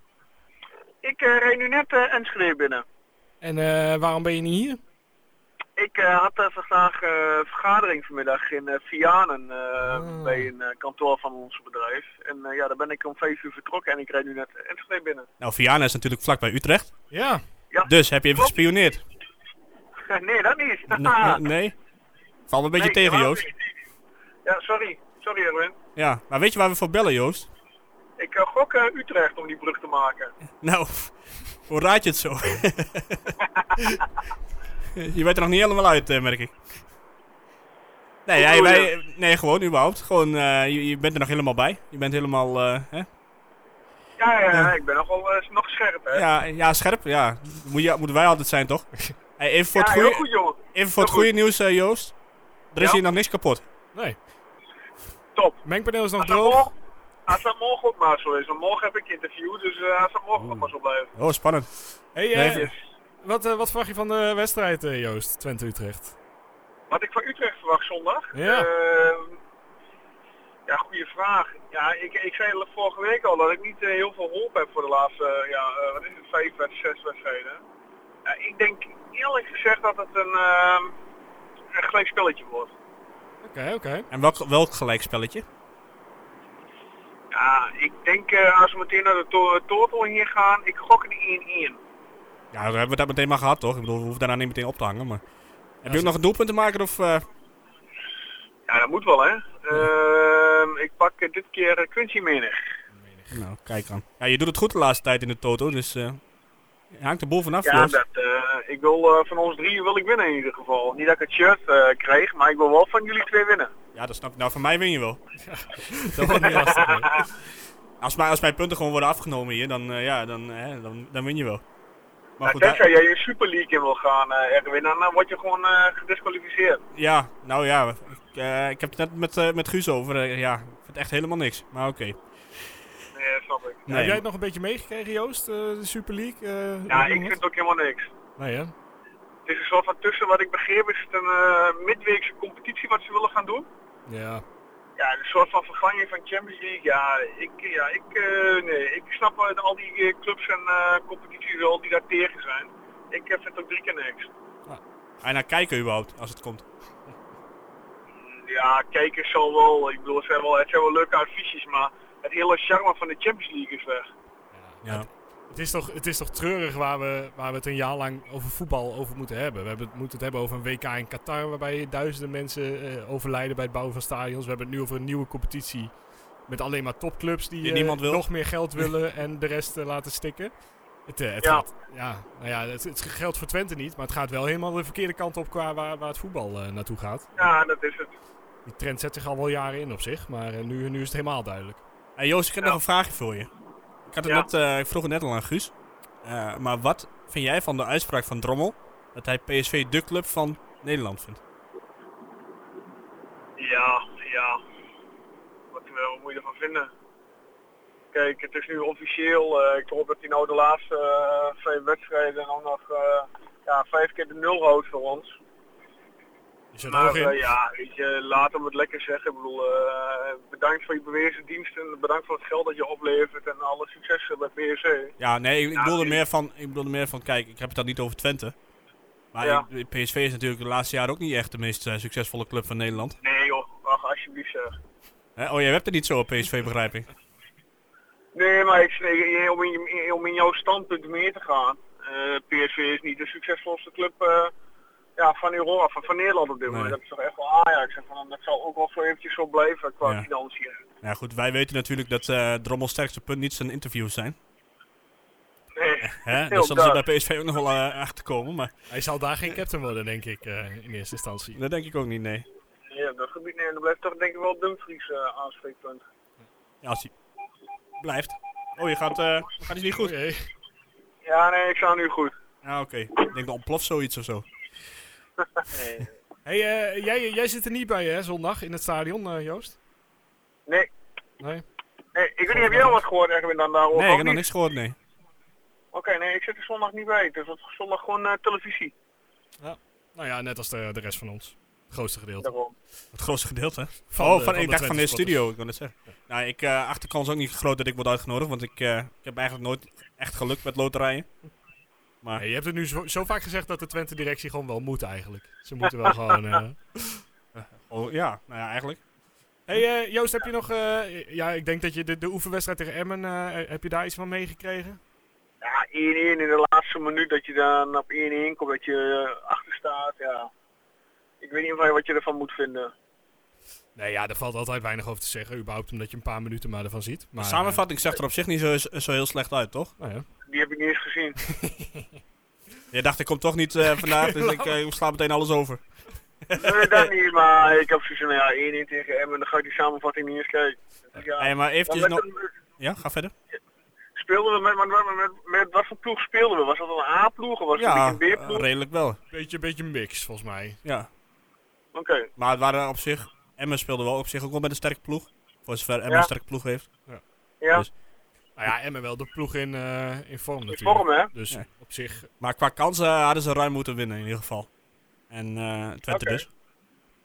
S6: Ik eh reed nu net eh Enschede binnen.
S1: En eh, waarom ben je niet hier?
S6: Ik eh, had eh, vandaag eh, vergadering vanmiddag in eh, Vianen eh,
S1: Ah.
S6: bij een eh, kantoor van ons bedrijf. En eh, ja, daar ben ik om vijf uur vertrokken en ik rijd nu net Enschede binnen.
S2: Nou, Vianen is natuurlijk vlak bij Utrecht.
S1: Ja.
S2: Dus heb je even gespioneerd?
S6: nee, dat niet.
S2: N- n- nee? Valt me een beetje
S6: Nee,
S2: tegen,
S6: helemaal
S2: Joost.
S6: niet. Ja, sorry. Sorry Erwin.
S2: Ja, maar weet je waar we voor bellen, Joost?
S6: Ik eh, gok eh, Utrecht om die brug te maken.
S2: Nou, hoe raad je het zo? je weet er nog niet helemaal uit, eh, merk ik. Nee, jij,
S6: bedoel
S2: wij, nee, gewoon überhaupt. Gewoon, eh, je, je bent er nog helemaal bij. Je bent helemaal, eh, hè?
S6: Ja, ja, ja, ik ben nogal eh, nog scherp hè.
S2: Ja, ja, scherp. Ja, moet je, moeten wij altijd zijn, toch? Hey, even voor
S6: Ja,
S2: het
S6: heel
S2: goede...
S6: goed jongen.
S2: Even voor het
S6: Heel
S2: goede
S6: goed.
S2: nieuws, eh, Joost. Er is
S6: Ja?
S2: hier nog niks kapot.
S1: Nee.
S6: Top.
S1: Mengpaneel is nog
S6: Als dat,
S1: droog.
S6: morgen, als dat morgen ook maar zo is. Want morgen heb ik interview, dus eh, als dat morgen ook maar zo blijft.
S2: Oh, spannend.
S1: Hey, eh,
S2: Nee.
S1: wat, eh, wat verwacht je van de wedstrijd, eh, Joost? Twente-Utrecht.
S6: Wat ik van Utrecht verwacht zondag?
S1: Ja.
S6: Ehm, ja, goede vraag. Ja, ik, ik zei al vorige week al dat ik niet eh, heel veel hoop heb voor de laatste, eh, ja, eh, wat is het, vijf, wed- zes wedstrijden. Ja, ik denk eerlijk gezegd dat het een, ehm een gelijk spelletje wordt.
S1: Oké, oké.
S2: En welk, welk gelijkspelletje?
S6: Ja, ik denk eh, als we meteen naar de to total hier gaan, ik gok een 1-1.
S2: Ja, dan hebben we dat meteen maar gehad, toch? Ik bedoel, we hoeven daarna niet meteen op te hangen, maar... Heb je ook nog een doelpunt te maken, of... eh,
S6: Ja, dat moet wel hè. Ehm, ik pak eh, dit keer eh, Quincy menig.
S2: Nou, kijk aan. Ja, je doet het goed de laatste tijd in de Toto, dus... eh, je hangt de boel vanaf,
S6: Ja,
S2: Joost.
S6: dat, eh, ik wil eh, van ons drieën wil ik winnen in ieder geval. Niet dat ik het shirt eh, kreeg, maar ik wil wel van jullie twee winnen.
S2: Ja, dat snap ik. Nou, van mij win je wel.
S1: Dat wordt niet lastig. hè.
S2: Als, mij, als mijn punten gewoon worden afgenomen hier, dan, eh, ja, dan, hè, dan, dan win je wel. Maar
S6: Nou,
S2: goed, daar-
S6: tenzij jij je Super League in wil gaan, eh, Erwin, dan eh, word je gewoon eh, gedisqualificeerd.
S2: Ja, nou ja, ik, eh, ik heb het net met, eh, met Guus over. eh, ja, ik vind het echt helemaal niks. Maar oké.
S6: Nee, eh, snap ik.
S1: Heb
S2: Nee.
S1: jij het nog een beetje meegekregen, Joost? eh, de Super League? eh,
S6: Ja,
S1: hoe
S6: ik
S1: het?
S6: vind het ook helemaal niks.
S1: Nee, hè?
S6: Het is een soort van tussen wat ik begreep is het een eh, midweekse competitie wat ze willen gaan doen.
S1: Ja.
S6: Ja, een soort van vervanging van Champions League. Ja, ik, ja, ik, eh, nee, ik snap eh, al die eh, clubs en eh, competities wel die daar tegen zijn. Ik eh, vind het ook drie keer niks.
S2: Ga je naar kijken überhaupt, als het komt?
S6: Ja, kijkers zal wel. Ik bedoel, het zijn wel, het zijn wel leuke adviesjes, maar het hele charme van de Champions League is weg.
S2: Ja.
S1: Het is, toch, het is toch treurig waar we, waar we het een jaar lang over voetbal over moeten hebben. We hebben het, moeten het hebben over een WK in Qatar waarbij duizenden mensen eh, overlijden bij het bouwen van stadions. We hebben het nu over een nieuwe competitie met alleen maar topclubs die,
S2: Die
S1: eh,
S2: niemand wil.
S1: nog meer geld willen en de rest eh, laten stikken. Het, eh, het,
S6: Ja.
S1: Gaat, ja, nou ja, het, het geldt voor Twente niet, maar het gaat wel helemaal de verkeerde kant op qua waar, waar het voetbal eh, naartoe gaat.
S6: Ja, dat is het.
S1: Die trend zet zich al wel jaren in op zich, maar eh, nu, nu is het helemaal duidelijk.
S2: Hey, Joost, ik heb nog een vraagje voor je. Ik, had het
S6: Ja.
S2: net, eh, ik vroeg het net al aan Guus. Eh, maar wat vind jij van de uitspraak van Drommel dat hij PSV de club van Nederland vindt?
S6: Ja, ja. Wat, eh, wat moet je ervan vinden? Kijk, het is nu officieel. eh, ik hoop dat hij nou de laatste eh, twee wedstrijden dan nog eh, ja, vijf keer de nul houdt voor ons.
S1: Is er
S6: Maar
S1: nog in?
S6: eh, ja, weet je, laat hem het lekker zeggen. Ik bedoel, eh, bedankt voor je bewezen diensten. Bedankt voor het geld dat je oplevert en alle succes met PSC.
S2: Ja, nee, ik, ik
S6: Ja,
S2: bedoelde
S6: ik-
S2: meer van, ik bedoelde meer van, kijk, ik heb het dan niet over Twente. Maar
S6: Ja.
S2: ik- PSV is natuurlijk de laatste jaren ook niet echt de meest eh, succesvolle club van Nederland.
S6: Nee joh, ach, alsjeblieft zeg.
S2: Hè? Oh, jij hebt het niet zo op PSV, begrijp ik.
S6: Nee, maar ik, nee, om, in, eh, om in jouw standpunt meer te gaan. eh, PSV is niet de succesvolste club eh, ja, van Europa, van, van Nederland op dit moment.
S2: Nee.
S6: Dat is toch echt wel Ajax. En van, dat zal ook wel voor eventjes zo blijven qua
S2: Ja.
S6: financiën.
S2: Nou ja, goed, wij weten natuurlijk dat eh Drommels sterkste punt niet zijn interviews zijn.
S6: Nee,
S2: Hè? Dus
S6: heel
S2: Daar zullen ze
S6: duidelijk.
S2: bij PSV ook nog wel eh, achter komen, maar
S1: Hij zal daar geen captain worden, denk ik, eh, in eerste instantie.
S2: dat denk ik ook niet, nee.
S6: Ja, dat gebied nee, dat blijft toch denk ik wel Dumfries eh, aanspreekpunt.
S2: Ja, als hij blijft. Oh, je gaat, eh, gaat iets niet goed.
S1: Oké.
S6: Ja, nee, ik sta nu goed.
S2: Ah, oké. Ik denk dat ontploft zoiets of zo.
S1: Hey, eh, jij, jij zit er niet bij, hè, zondag in het stadion, eh, Joost?
S6: Nee,
S1: Nee?
S6: nee ik weet niet, heb jij al wat gehoord Erwin dan daarover?
S2: Nee, ik
S6: of
S2: heb nog
S6: niet?
S2: niks gehoord, nee.
S6: Oké, nee, ik zit er zondag niet bij. Dus dat is zondag gewoon eh, televisie.
S1: Nou ja, net als de, de rest van ons. Het grootste gedeelte.
S6: Daarom.
S2: Het grootste gedeelte.
S1: Van
S2: oh,
S1: de-
S2: van,
S1: van
S2: ik
S1: de
S2: dacht van de
S1: Twente-supporters.
S2: studio, ik kan het zeggen. Nou, ik eh achterkans ook niet groot dat ik word uitgenodigd, want ik, eh, ik heb eigenlijk nooit echt geluk met loterijen.
S1: Nee, je hebt het nu zo, zo vaak gezegd dat de Twente-directie gewoon wel moet eigenlijk. Ze moeten wel gewoon... eh,
S2: Oh ja, nou ja, eigenlijk.
S1: Hey eh, Joost, heb je nog... eh, ja, ik denk dat je de, de oefenwedstrijd tegen Emmen... eh, heb je daar iets van meegekregen?
S6: Ja, 1-1 in de laatste minuut dat je dan op 1-1 komt, dat je eh, achter staat, ja. Ik weet niet of- wat je ervan moet vinden.
S1: Nee, ja, daar valt altijd weinig over te zeggen. Überhaupt omdat je een paar minuten maar ervan ziet. Maar,
S2: de samenvatting zag er op zich niet zo, zo heel slecht uit, toch?
S1: eh, nou ja.
S6: Die heb ik niet eens gezien.
S2: Je dacht, ik kom toch niet eh, vandaag, dus ik, eh, ik sla meteen alles over.
S6: nee, dat niet, maar ik heb zoiets van, nou ja, 1-1 tegen Emmen, dan ga ik die samenvatting niet eens kijken. Dus ja.
S2: Hey, maar
S6: Maar
S2: eventjes
S6: met
S2: nog...
S6: een-
S2: Ja, ga verder.
S6: Speelden we met, met, met, met, met wat voor ploeg speelden we? Was dat een A-ploeg of was
S2: Ja,
S6: dat een B-ploeg?
S2: eh, redelijk wel.
S1: Beetje, beetje mix, volgens mij.
S2: Ja.
S6: Oké.
S2: Maar het waren op zich... Emmen speelde wel op zich ook wel met een sterke ploeg. Voor zover Emmen
S6: Ja.
S2: een sterke ploeg heeft.
S6: Ja,
S2: Dus-
S1: Nou ja, Emmen wel de ploeg in, eh, in vorm natuurlijk.
S6: vorm, hè?
S1: Dus
S2: Ja.
S1: op zich...
S2: Maar qua kansen hadden ze ruim moeten winnen in ieder geval. En eh Twente
S6: Oké.
S2: dus.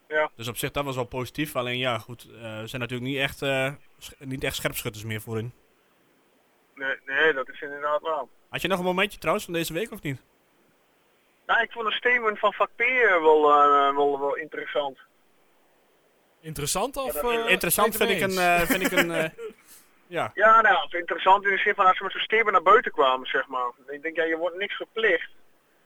S6: Ja.
S2: Dus op zich dat was wel positief. Alleen ja, goed, eh, we zijn natuurlijk niet echt, eh, sch- niet echt scherpschutters meer voorin.
S6: nee, nee, dat is inderdaad waar.
S2: Had je nog een momentje trouwens van deze week of niet?
S6: Nou, ik vond een statement van Vak P, eh, wel, eh, wel, wel interessant.
S1: Interessant of... eh, ben
S2: Interessant vind
S1: je
S2: ik
S1: het
S2: een...
S1: mee eens?
S2: eh, vind ik een eh, ja.
S6: Ja, nou, het interessant in de zin van als ze met zo'n statement naar buiten kwamen, zeg maar. Ik denk, ja, je wordt niks verplicht.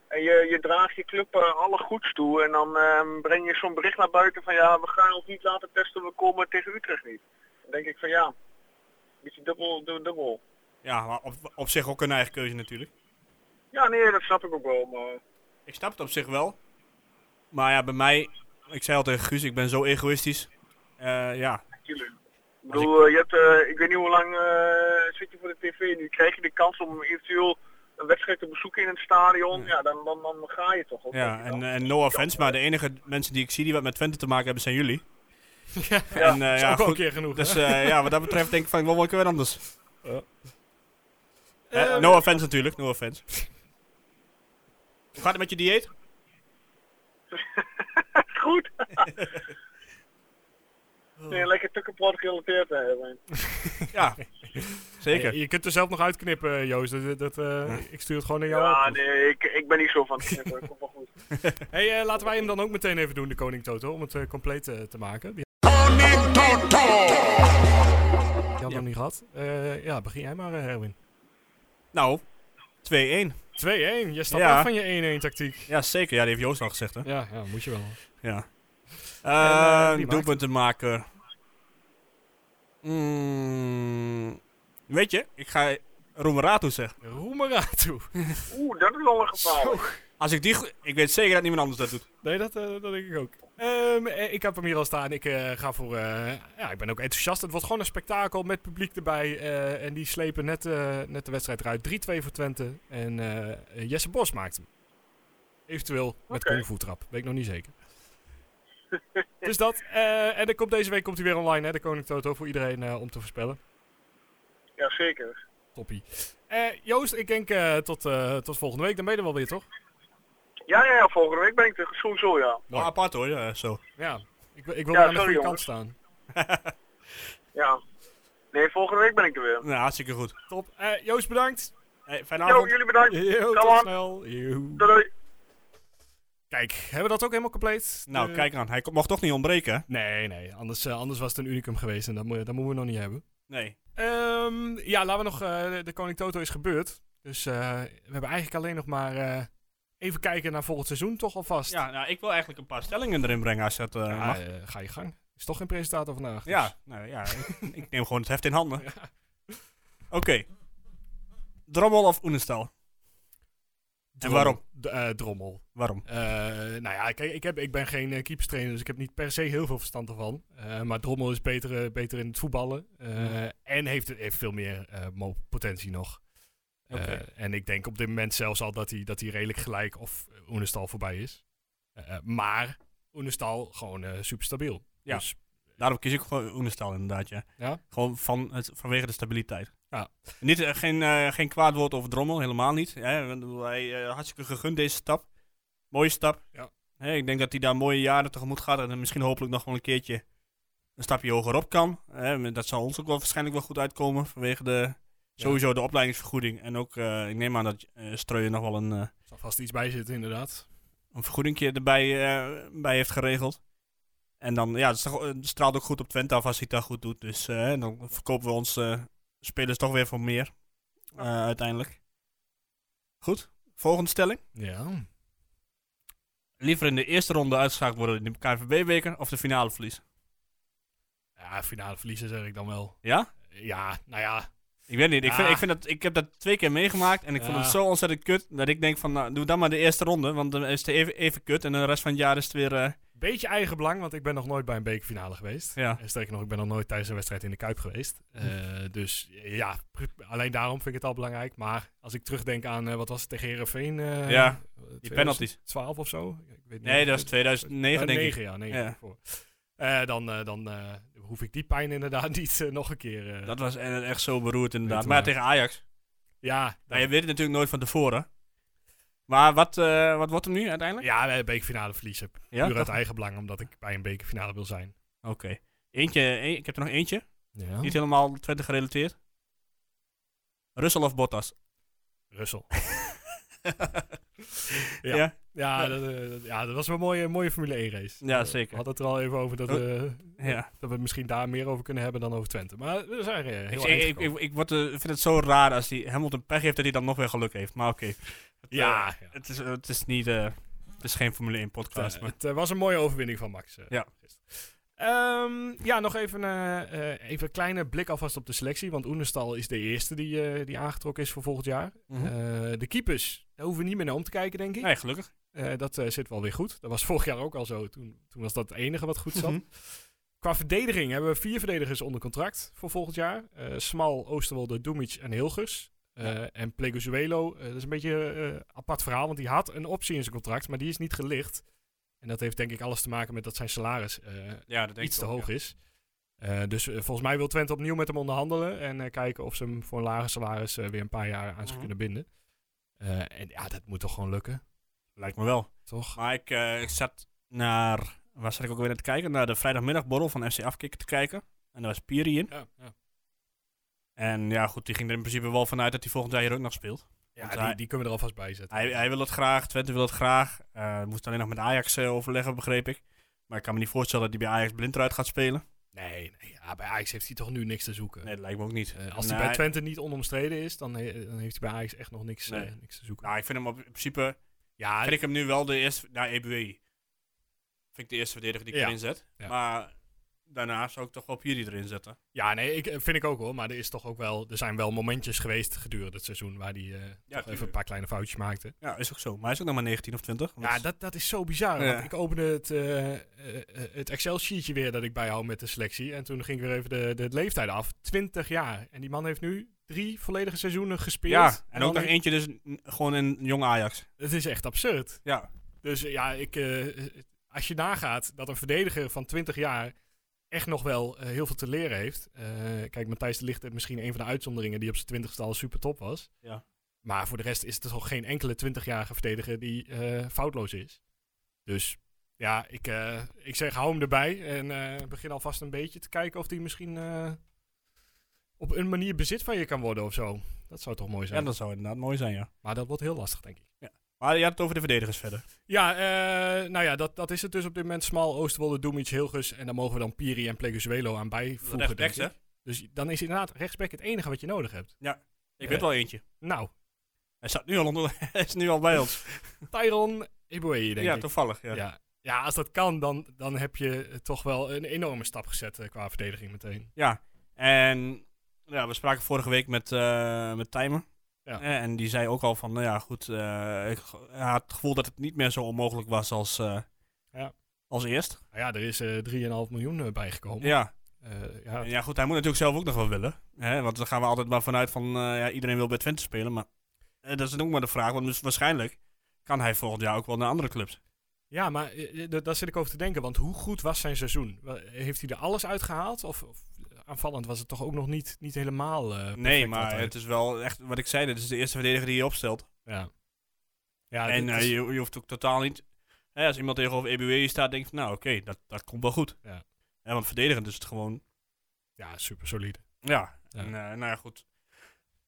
S6: En je, je draagt je club eh, alle goeds toe en dan ehm, breng je zo'n bericht naar buiten van ja, we gaan ons niet laten testen, we komen tegen Utrecht niet. Dan denk ik van ja, een beetje dubbel, dubbel, dubbel.
S2: ja, maar op, op zich ook een eigen keuze natuurlijk.
S6: Ja, nee, dat snap ik ook wel, maar...
S2: Ik snap het op zich wel. Maar ja, bij mij... Ik zei al tegen Guus, ik ben zo egoïstisch. Eh, ja,
S6: Tuurlijk. Ik bedoel, eh, je hebt, eh, ik weet niet hoe lang eh, zit je voor de tv nu. Krijg je de kans om eventueel een wedstrijd te bezoeken in het stadion, ja, dan, dan, dan ga je toch. ook, weet
S2: ja.
S6: je
S2: En,
S6: wel.
S2: eh, en no offense, maar de enige mensen die ik zie die wat met Twente te maken hebben zijn jullie.
S6: Ja.
S2: en, eh,
S1: Is
S2: ja,
S1: ook wel een
S2: goed.
S1: keer genoeg,
S2: Dus
S1: hè?
S2: eh, ja, wat dat betreft denk ik van, ik wil wel een keer weer anders. Eh,
S1: Ehm,
S2: no offense natuurlijk, no offense. Hoe gaat het met je dieet?
S6: Goed! Oh. Nee, lekker tukkenpot gerelateerd te hebben.
S2: Ja, zeker.
S1: Je, je kunt er zelf nog uitknippen, Joost. Dat, dat, eh, Ik stuur het gewoon naar jou.
S6: Ja,
S1: op.
S6: nee, ik, ik ben niet zo van het knippen, komt wel goed.
S1: Hey, eh, laten wij hem dan ook meteen even doen, de Koning Toto, om het eh, compleet eh, te maken. Die Die hadden we nog niet gehad. Eh, ja, begin jij maar, eh, Erwin.
S2: Nou, 2-1.
S1: 2-1, je stapt
S2: Ja.
S1: af van je 1-1 tactiek.
S2: Ja, zeker. Ja, die heeft Joost al gezegd, hè?
S1: Ja, ja, moet je wel.
S2: Ja.
S1: eh,
S2: Eh
S1: wie maakt
S2: doelpuntenmaker. Mm, weet je, ik ga Roemeratu zeggen.
S1: Roemeratu.
S6: Oeh, dat is wel een
S1: Zo.
S6: gevaar.
S2: Als ik die... go- Ik weet zeker dat niemand anders dat doet.
S1: Nee, dat, eh, dat denk ik ook. Ehm, eh, ik heb hem hier al staan. Ik eh, ga voor. eh, ja, ik ben ook enthousiast. Het wordt gewoon een spektakel met publiek erbij. eh, en die slepen net, eh, net de wedstrijd eruit. 3-2 voor Twente. En eh, Jesse Bos maakt hem. Eventueel met
S6: Oké.
S1: kung fu trap. Weet ik nog niet zeker. dus dat. eh, en er komt, deze week komt hij weer online, hè, de Koning Toto, voor iedereen eh, om te voorspellen.
S6: Ja, zeker.
S1: Toppie. Eh, Joost, ik denk eh, tot, eh, tot volgende week. Dan ben je er wel weer, toch?
S6: Ja, ja, ja, volgende week ben ik er sowieso, ja.
S2: Wel apart hoor, ja, zo.
S1: Ja. Ik, wil- ik wil
S6: Ja,
S1: weer aan de
S6: sorry,
S1: goede kant
S6: jongens.
S1: staan.
S6: Ja. Nee, volgende week ben ik er weer.
S2: Nou, hartstikke goed.
S1: Top. Eh, Joost, bedankt.
S2: Hey, fijne
S6: Jo,
S2: avond.
S6: jullie bedankt.
S1: Yo,
S6: Kom
S1: tot
S6: aan.
S1: snel. Yo.
S6: Doei, doei.
S1: Kijk, hebben we dat ook helemaal compleet?
S2: Nou,
S1: De-
S2: kijk aan. Hij mocht toch niet ontbreken, hè?
S1: Nee, nee. Anders, eh, anders was het een unicum geweest en dat, moet- dat moeten we nog niet hebben.
S2: Nee.
S1: Ehm, ja, laten we nog... eh, de- de Koning Toto is gebeurd. Dus eh, we hebben eigenlijk alleen nog maar... eh, even kijken naar volgend seizoen toch alvast.
S2: Ja, nou, ik wil eigenlijk een paar stellingen erin brengen als dat eh,
S1: Ja,
S2: mag.
S1: eh, ga je gang. Is toch geen presentator vandaag. dus-
S2: Ja, nou ja, ik, ik neem gewoon het heft in handen. Oké. Drommel of Oenestal? En
S1: Drommel.
S2: waarom?
S1: D- eh, drommel.
S2: Waarom?
S1: Eh, nou ja, kijk, ik, heb, ik ben geen eh, keeperstrainer, dus ik heb niet per se heel veel verstand ervan. Eh, maar Drommel is beter, eh, beter in het voetballen. eh, En heeft, heeft veel meer eh, mo- potentie nog. Eh,
S2: Oké.
S1: en ik denk op dit moment zelfs al dat hij, dat hij redelijk gelijk of Oenestal voorbij is. Eh, maar Oenestal gewoon eh super stabiel.
S2: Ja.
S1: Dus
S2: Daarom kies ik gewoon Oenestal inderdaad, ja.
S1: Ja?
S2: Gewoon van het, vanwege de stabiliteit.
S1: Ja.
S2: Niet, eh, geen, eh, geen kwaad woord over Drommel, helemaal niet. Hè? want ik bedoel, Hij eh, hartstikke gegund deze stap. Mooie stap.
S1: Ja.
S2: Hè, ik denk dat hij daar mooie jaren tegemoet gaat en dan misschien hopelijk nog wel een keertje een stapje hoger op kan. Hè? maar Dat zal ons ook wel waarschijnlijk wel goed uitkomen vanwege de, sowieso de opleidingsvergoeding. En ook, eh, ik neem aan dat eh Streuer nog wel een, eh,
S1: zal vast iets bij zitten, inderdaad.
S2: een vergoedingje erbij eh, bij heeft geregeld. En dan, ja, het is toch- het straalt ook goed op Twente af als hij het daar goed doet. Dus eh, dan verkopen we onze eh, spelers toch weer voor meer. eh, uiteindelijk. Goed, volgende stelling.
S1: Ja.
S2: Liever in de eerste ronde uitgeschakeld worden in de KNVB-beker of de finale verliezen?
S1: Ja, finale verliezen zeg ik dan wel.
S2: Ja?
S1: Ja, nou ja.
S2: Ik weet niet. Ik, vind,
S1: Ja.
S2: ik, vind dat, ik heb dat twee keer meegemaakt en ik vond
S1: Ja.
S2: het zo ontzettend kut dat ik denk van, nou, doe dan maar de eerste ronde, want dan is het even, even kut en de rest van het jaar is het weer... eh,
S1: Beetje eigen belang, want ik ben nog nooit bij een bekerfinale geweest.
S2: ja. Hm.
S1: En sterker nog, ik ben nog nooit tijdens een wedstrijd in de Kuip geweest. Eh, dus ja, pr- alleen daarom vind ik het al belangrijk. Maar als ik terugdenk aan, eh, wat was het tegen Herenveen? eh
S2: Ja,
S1: 2012 of zo? Ik weet niet
S2: Nee,
S1: of-
S2: dat is 2009 denk ik.
S1: 9, ja. 9
S2: Ja.
S1: voor. Eh, dan eh, dan eh, hoef ik die pijn inderdaad niet eh, nog een keer. eh,
S2: Dat was e- echt zo beroerd inderdaad.
S1: Weet
S2: Maar
S1: wel.
S2: tegen Ajax.
S1: ja,
S2: Nou, je weet het natuurlijk nooit van tevoren. Maar wat, eh, wat wordt hem nu uiteindelijk?
S1: ja, eh, bekerfinale verliezen.
S2: Ja,
S1: Puur
S2: toch?
S1: uit eigen belang, omdat ik bij een bekerfinale wil zijn.
S2: Oké. Eentje, e- ik heb er nog eentje.
S1: Ja.
S2: Niet helemaal Twente gerelateerd. Russell of Bottas?
S1: Russel.
S2: ja.
S1: Ja.
S2: Ja,
S1: Ja, dat, eh, dat- ja, dat was wel een mooie, mooie Formule 1 race.
S2: Ja,
S1: Eh,
S2: zeker.
S1: We hadden het er al even over dat,
S2: Oh,
S1: eh,
S2: ja.
S1: dat we het misschien daar meer over kunnen hebben dan over Twente. Maar we zijn eh,
S2: Ik,
S1: heel eind
S2: ik, ik,
S1: gekomen.
S2: ik word, eh, vind het zo raar als hij Hamilton pech heeft dat hij dan nog weer geluk heeft. Maar oké. Het, eh,
S1: Ja, ja.
S2: het, is, het is niet... eh, het is geen Formule 1 podcast.
S1: Eh,
S2: maar.
S1: het eh, was een mooie overwinning van Max. eh,
S2: Ja.
S1: gisteren. Ehm, ja, nog even, eh, eh, even een kleine blik alvast op de selectie. Want Oenestal is de eerste die, eh, die aangetrokken is voor volgend jaar.
S2: Mhm.
S1: Eh, de keepers, daar hoeven we niet meer naar om te kijken, denk ik.
S2: Nee, gelukkig.
S1: Eh, dat eh, zit wel weer goed. Dat was vorig jaar ook al zo. Toen, toen was dat het enige wat goed zat.
S2: Mhm.
S1: Qua verdediging hebben we vier verdedigers onder contract voor volgend jaar. Eh, Smal, Oosterwolde, Dumic en Hilgers. Eh, En Plegozuelo, eh, dat is een beetje eh, een apart verhaal, want die had een optie in zijn contract, maar die is niet gelicht. En dat heeft denk ik alles te maken met dat zijn salaris eh,
S2: Ja, dat denk
S1: iets
S2: ik
S1: te
S2: ook,
S1: hoog
S2: ja.
S1: is. Eh, dus eh, volgens mij wil Twente opnieuw met hem onderhandelen en eh, kijken of ze hem voor een lager salaris eh, weer een paar jaar aan zou
S2: Mhm.
S1: kunnen binden. Eh, en ja, dat moet toch gewoon lukken,
S2: Lijkt me wel.
S1: toch?
S2: Maar ik, eh, ik zat naar, waar zat ik ook weer naar te kijken? Naar de vrijdagmiddagborrel van FC Afkikken te kijken. En daar was Piri in.
S1: Ja, ja.
S2: En ja, goed, die ging er in principe wel vanuit dat hij volgend jaar hier ook nog speelt. Want hij-
S1: die, die kunnen we er alvast bij zetten.
S2: Hij, hij wil het graag, Twente wil het graag. Eh moest alleen nog met Ajax eh, overleggen, begreep ik. Maar ik kan me niet voorstellen dat hij bij Ajax blind eruit gaat spelen.
S1: Nee, nee ja, bij Ajax heeft hij toch nu niks te zoeken.
S2: Nee, dat lijkt me ook niet.
S1: Eh, als
S2: En,
S1: hij bij
S2: eh,
S1: Twente niet onomstreden is, dan, he- eh, dan heeft hij bij Ajax echt nog niks, eh,
S2: Nee.
S1: niks te zoeken.
S2: Nou, ik vind hem op, in principe,
S1: ja,
S2: vind ik hem nu wel de eerste, nou, EBWI. Vind ik de eerste verdediger die ik
S1: Ja.
S2: erin zet.
S1: Ja.
S2: Maar daarna zou ik toch wel Piri erin zetten.
S1: ja, nee, ik, eh, vind ik ook hoor. Maar er, is toch ook wel, er zijn wel momentjes geweest gedurende het seizoen waar hij eh, toch
S2: tuurlijk.
S1: even een paar kleine foutjes maakte.
S2: Ja, is ook zo. Maar hij is ook nog maar 19 of 20. want-
S1: Ja, dat, dat is zo bizar.
S2: Ja.
S1: Want ik opende het, eh, eh, eh, het Excel-sheetje weer dat ik bijhoud met de selectie. En toen ging ik weer even de, de leeftijd af. 20 jaar. En die man heeft nu drie volledige seizoenen gespeeld.
S2: Ja, en
S1: dan
S2: ook nog
S1: heeft-
S2: eentje dus n- gewoon een jong Ajax.
S1: Het is echt absurd.
S2: Ja,
S1: Dus eh, ja, ik, eh, als je nagaat dat een verdediger van 20 jaar echt nog wel eh, heel veel te leren heeft. Eh, kijk, Matthijs de Ligt is misschien een van de uitzonderingen die op zijn twintigste al super top was.
S2: Ja.
S1: Maar voor de rest is het toch geen enkele 20-jarige verdediger die eh, foutloos is. Dus ja, ik, eh, ik zeg hou hem erbij en eh, begin alvast een beetje te kijken of hij misschien eh, op een manier bezit van je kan worden of zo. Dat zou toch mooi
S2: Ja,
S1: zijn.
S2: dat zou inderdaad mooi zijn, ja.
S1: Maar dat wordt heel lastig, denk ik.
S2: Maar je had het over de verdedigers verder.
S1: Ja, eh, nou ja, dat, dat is het dus op dit moment. Smal, Oosterwolde, Doemits, Hilgers. En dan mogen we dan Piri en Pleguzuelo aan bijvoegen.
S2: Rechtsbacks,
S1: denk ik. Dus dan is inderdaad rechtsback het enige wat je nodig hebt.
S2: Ik weet wel eentje.
S1: Nou,
S2: Hij, staat nu al onder, hij is nu al bij ons.
S1: Tyron Eboe, denk
S2: ja,
S1: ik.
S2: toevallig. Ja.
S1: Ja. ja, als dat kan, dan, dan heb je eh, toch wel een enorme stap gezet eh, qua verdediging meteen.
S2: Ja, en ja, we spraken vorige week met, eh met Timer.
S1: Ja.
S2: Eh, En die zei ook al van, nou ja, goed, eh, ik ge- hij had het gevoel dat het niet meer zo onmogelijk was als, eh,
S1: Ja.
S2: als eerst.
S1: Nou ja, er is eh 3,5 miljoen eh, bijgekomen.
S2: Ja.
S1: Eh, ja,
S2: En ja, goed, hij moet natuurlijk zelf ook nog wel willen. Hè? Want dan gaan we altijd maar vanuit van, eh, ja, iedereen wil bij Twente spelen. Maar eh, dat is dan ook maar de vraag, want dus waarschijnlijk kan hij volgend jaar ook wel naar andere clubs.
S1: Ja, maar eh, eh, da- daar zit ik over te denken. Want hoe goed was zijn seizoen? Wel, Heeft hij er alles uitgehaald? Of, of aanvallend was het toch ook nog niet, niet helemaal. eh,
S2: nee,
S1: perfect
S2: maar
S1: altijd?
S2: het is wel echt, wat ik zei, dit is de eerste verdediger die je opstelt.
S1: Ja. ja
S2: en
S1: dit
S2: eh,
S1: is-
S2: je, je hoeft ook totaal niet. Hè, als iemand tegenover EBW staat, denk je van nou oké, dat, dat komt wel goed.
S1: Ja.
S2: Hè, want verdedigend is het gewoon.
S1: ja, super solide.
S2: Ja.
S1: Ja.
S2: En, eh, nou ja, goed.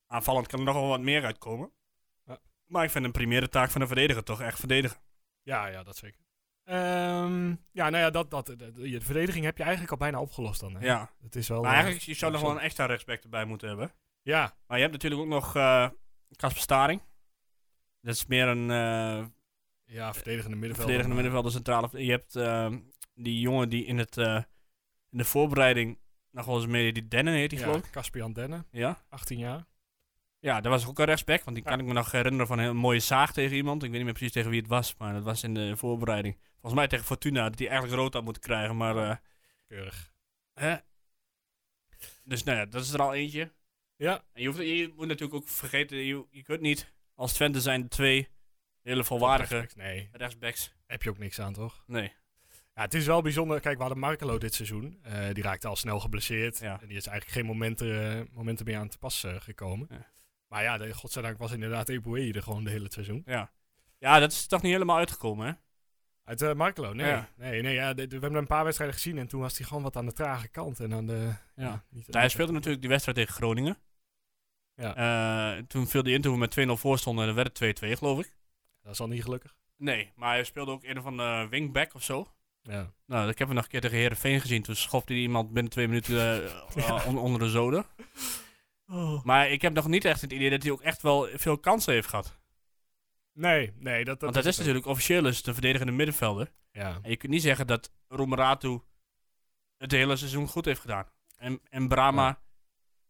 S2: Aanvallend kan er nog wel wat meer uitkomen.
S1: Ja.
S2: Maar ik vind een primaire taak van een verdediger toch echt verdedigen.
S1: Ja, ja, dat zeker. Ehm, ja, nou ja, dat, dat, dat- je- de verdediging heb je eigenlijk al bijna opgelost dan. Hè?
S2: Ja.
S1: Het is wel,
S2: Maar
S1: eh,
S2: eigenlijk, je zou nog wel
S1: zo.
S2: een extra rechtsback erbij moeten hebben.
S1: Ja,
S2: Maar je hebt natuurlijk ook nog eh, Casper Staring. Dat is meer een eh,
S1: ja, verdedigende middenvelder.
S2: verdedigende middenvelder centrale. Je hebt ehm, die jongen die in, het, eh, in de voorbereiding nog wel eens mee, die Dennen heet die geloof ik.
S1: Ja, Caspian Denne,
S2: Ja.
S1: 18 jaar.
S2: Ja, dat was ook een rechtsback, want die kan ik me nog herinneren van een heel mooie zaag tegen iemand. Ik weet niet meer precies tegen wie het was, maar dat was in de voorbereiding. Volgens mij tegen Fortuna, dat hij eigenlijk rood had moeten krijgen, maar... eh,
S1: Keurig.
S2: hè? Dus nou ja, dat is er al eentje.
S1: Ja,
S2: En je, hoeft, je moet natuurlijk ook vergeten, je, je kunt niet... Als Twente zijn er twee hele volwaardige
S1: Nee,
S2: rechtsbacks.
S1: heb je ook niks aan, toch?
S2: Nee.
S1: Ja, het is wel bijzonder. Kijk, we hadden Markelo dit seizoen. Eh, die raakte al snel geblesseerd.
S2: Ja.
S1: En die is eigenlijk geen momenten, eh, momenten meer aan te pas eh, gekomen.
S2: Ja.
S1: Maar ja, de, godzijdank was inderdaad Eboué er gewoon de hele het seizoen.
S2: Ja, dat is toch niet helemaal uitgekomen, hè?
S1: Uit eh Markelo, nee.
S2: Ja.
S1: Nee, nee ja, dit- we hebben hem een paar wedstrijden gezien en toen was hij gewoon wat aan de trage kant. En aan de,
S2: Ja.
S1: niet-
S2: Hij speelde natuurlijk die wedstrijd tegen Groningen. Eh, toen viel hij in toen we met 2-0 voor stonden en dan werd het 2-2, geloof ik.
S1: Dat is al niet gelukkig.
S2: Nee, maar hij speelde ook een van de wingback of zo.
S1: Ja.
S2: Nou, ik heb hem nog een keer tegen Herenveen gezien. Toen schopte hij iemand binnen twee minuten eh, eh, on- onder de zoden. Maar ik heb nog niet echt het idee dat hij ook echt wel veel kansen heeft gehad.
S1: Nee, nee, dat,
S2: Want dat is
S1: het ook.
S2: natuurlijk officieel is de verdedigende middenvelder.
S1: Ja.
S2: En je kunt niet zeggen dat Romeratu het hele seizoen goed heeft gedaan. En, en Brahma
S1: Ja.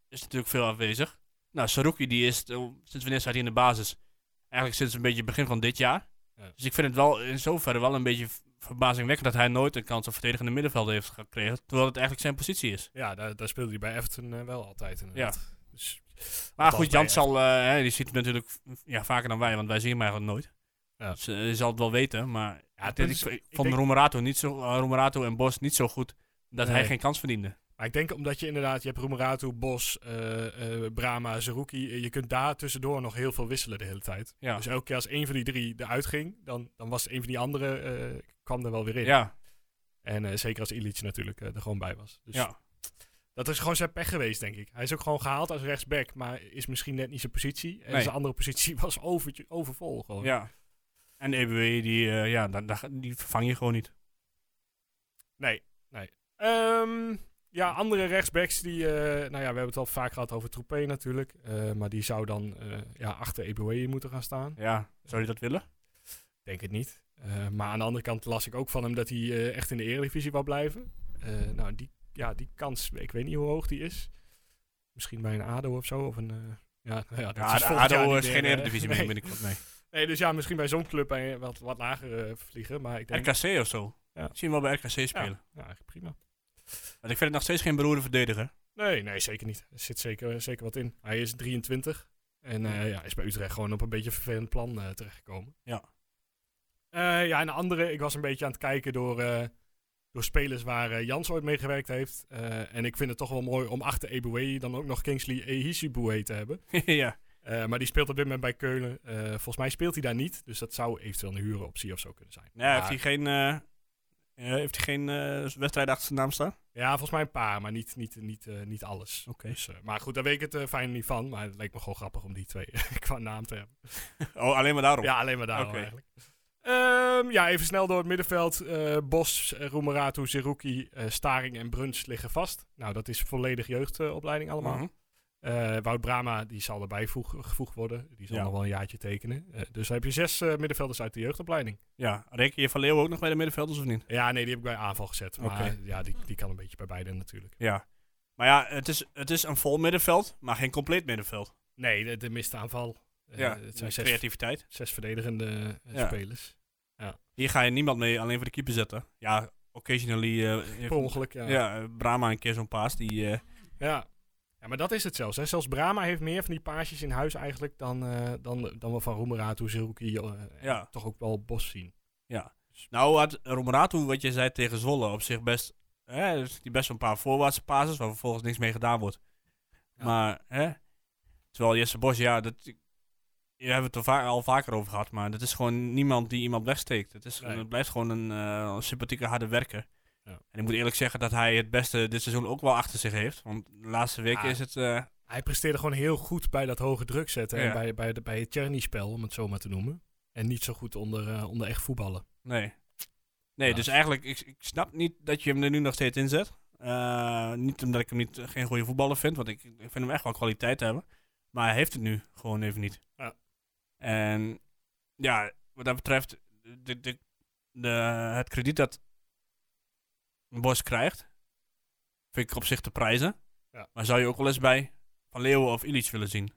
S2: is natuurlijk veel afwezig. Nou, Saruki die is, eh, sinds wanneer staat hij in de basis? Eigenlijk sinds een beetje het begin van dit jaar.
S1: Ja.
S2: Dus ik vind het wel in zoverre wel een beetje v- verbazingwekkend dat hij nooit een kans op verdedigende middenvelder heeft gekregen. Terwijl het eigenlijk zijn positie is.
S1: Ja, daar, daar speelde hij bij Everton eh, wel altijd inderdaad. Ja. Dus,
S2: Maar
S1: althans
S2: goed,
S1: bij
S2: Jan zal, eh, hè, die ziet hem natuurlijk v- ja, vaker dan wij, want wij zien hem eigenlijk nooit.
S1: Ja.
S2: Dus eh, hij zal het wel weten, maar
S1: Ja, het
S2: dit-
S1: is-
S2: ik,
S1: ik
S2: vond
S1: denk-
S2: Romerato, niet zo, eh, Romerato en Bos niet zo goed dat hij
S1: Nee.
S2: geen kans verdiende.
S1: Maar ik denk omdat je inderdaad, je hebt Roemeratu, Bos, eh, eh, Brahma, Zerouki. eh, Je kunt daar tussendoor nog heel veel wisselen de hele tijd.
S2: Ja.
S1: Dus elke keer als één van die drie eruit ging, dan, dan was een van die anderen, eh, kwam er wel weer in.
S2: Ja,
S1: En eh, zeker als Illich natuurlijk eh, er gewoon bij was. Dus
S2: ja.
S1: dat is gewoon zijn pech geweest, denk ik. Hij is ook gewoon gehaald als rechtsback, maar is misschien net niet zijn positie. En
S2: Nee.
S1: zijn andere positie was over, overvol gewoon.
S2: ja. En EBW, die, eh, ja, dan, dan- die vervang je gewoon niet.
S1: Nee, nee. Ehm, ja, andere rechtsbacks die... eh, nou ja, we hebben het al vaak gehad over Troepé natuurlijk. eh, maar die zou dan eh, ja, achter Eboué moeten gaan staan.
S2: Ja, zou je dat willen?
S1: Denk het niet. Eh, maar aan de andere kant las ik ook van hem dat hij eh, echt in de Eredivisie wou blijven. Eh, nou, die, ja, die kans, ik weet niet hoe hoog die is. Misschien bij een ADO of zo. Of een, eh, ja, nou ja, dat
S2: Ja,
S1: is
S2: de
S1: volgend jaar
S2: ADO
S1: niet
S2: is
S1: meer,
S2: geen
S1: eh,
S2: Eredivisie meer
S1: nee.
S2: binnenkort, nee.
S1: Nee, dus ja, misschien bij zo'n club bij een wat, wat lagere vliegen. Maar ik denk,
S2: RKC of zo.
S1: Ja.
S2: Ik zie hem wel bij RKC spelen.
S1: ja, eigenlijk prima.
S2: Want ik vind het nog steeds geen beroerde verdediger.
S1: Nee, nee, zeker niet. Er zit zeker, zeker wat in. Hij is 23 en eh, ja, is bij Utrecht gewoon op een beetje een vervelend plan eh, terechtgekomen.
S2: Ja.
S1: Eh, ja, en de andere, ik was een beetje aan het kijken door, eh, door spelers waar eh, Jans ooit mee gewerkt heeft. Eh, en ik vind het toch wel mooi om achter Eboué dan ook nog Kingsley Ehisiboué te hebben.
S2: ja.
S1: Eh, maar die speelt op dit moment bij Keulen. Eh, volgens mij speelt hij daar niet. Dus dat zou eventueel een huuroptie of zo kunnen zijn.
S2: Nee, heeft
S1: Maar-
S2: hij geen, eh, eh, heeft hij geen eh, wedstrijd achter zijn naam staan?
S1: Ja, volgens mij een paar, maar niet, niet, niet, eh, niet alles.
S2: Oké.
S1: Dus, eh, maar goed, daar weet ik het eh, fijn niet van. Maar het leek me gewoon grappig om die twee qua naam te hebben.
S2: Oh, alleen maar daarom.
S1: Ja, alleen maar daarom
S2: Oké.
S1: eigenlijk. Ehm, ja, even snel door het middenveld. Eh, Bos, eh, Roemeratu, Zerouki, eh, Staring en Bruns liggen vast. Nou, dat is volledig jeugdopleiding allemaal.
S2: Mhm.
S1: Eh, Wout Brama, die zal erbij voeg- gevoegd worden. Die zal
S2: Ja.
S1: nog wel een jaartje tekenen. Eh, dus dan heb je zes eh, middenvelders uit de jeugdopleiding.
S2: Ja, reken je Van Leeuwen ook nog bij de middenvelders of niet?
S1: Ja, nee, die heb ik bij aanval gezet. Maar
S2: Oké.
S1: ja, die, die kan een beetje bij beide natuurlijk.
S2: Ja. Maar ja, het is, het is een vol middenveld, maar geen compleet middenveld.
S1: Nee, de, de miste aanval. Eh,
S2: ja,
S1: het zijn
S2: de
S1: zes,
S2: creativiteit.
S1: zes verdedigende eh,
S2: Ja.
S1: spelers.
S2: Hier ga je niemand mee alleen voor de keeper zetten. Ja, occasionally... eh, heeft-
S1: Per ongeluk, ja.
S2: ja.
S1: ja.
S2: eh, Brahma een keer zo'n paas. Die, eh,
S1: Ja. maar dat is het zelfs. Hè. Zelfs Brama heeft meer van die paasjes in huis eigenlijk dan, eh, dan, dan we van Roemeratu, Zerouki eh, en
S2: Ja.
S1: toch ook wel Bos zien.
S2: nou had Romeratu, wat je zei tegen Zwolle, op zich best... Hè, dus die best wel een paar voorwaartse passes waar vervolgens niks mee gedaan wordt.
S1: Ja.
S2: Maar, hè... Terwijl Jesse Bos, ja, dat... Hier hebben we het er va- al vaker over gehad, maar dat is gewoon niemand die iemand wegsteekt. Het, is,
S1: Nee.
S2: het blijft gewoon een eh, sympathieke harde werker.
S1: Ja.
S2: En ik moet eerlijk zeggen dat hij het beste dit seizoen ook wel achter zich heeft. Want de laatste weken
S1: Ah.
S2: is het... eh,
S1: Hij presteerde gewoon heel goed bij dat hoge druk zetten. En
S2: Ja.
S1: bij, bij, de, bij het Czerny-spel, om het zo maar te noemen. En niet zo goed onder, eh, onder echt voetballen.
S2: Nee. Nee,
S1: Ja.
S2: dus eigenlijk, ik, ik snap niet dat je hem er nu nog steeds inzet. Eh, niet omdat ik hem niet, geen goede voetballer vind, want ik, ik vind hem echt wel kwaliteit hebben. Maar hij heeft het nu gewoon even niet.
S1: Ja.
S2: En ja, wat dat betreft, de, de, de, het krediet dat Bos krijgt, vind ik op zich te prijzen.
S1: Ja.
S2: Maar zou je ook wel eens bij Van Leeuwen of Illich willen zien?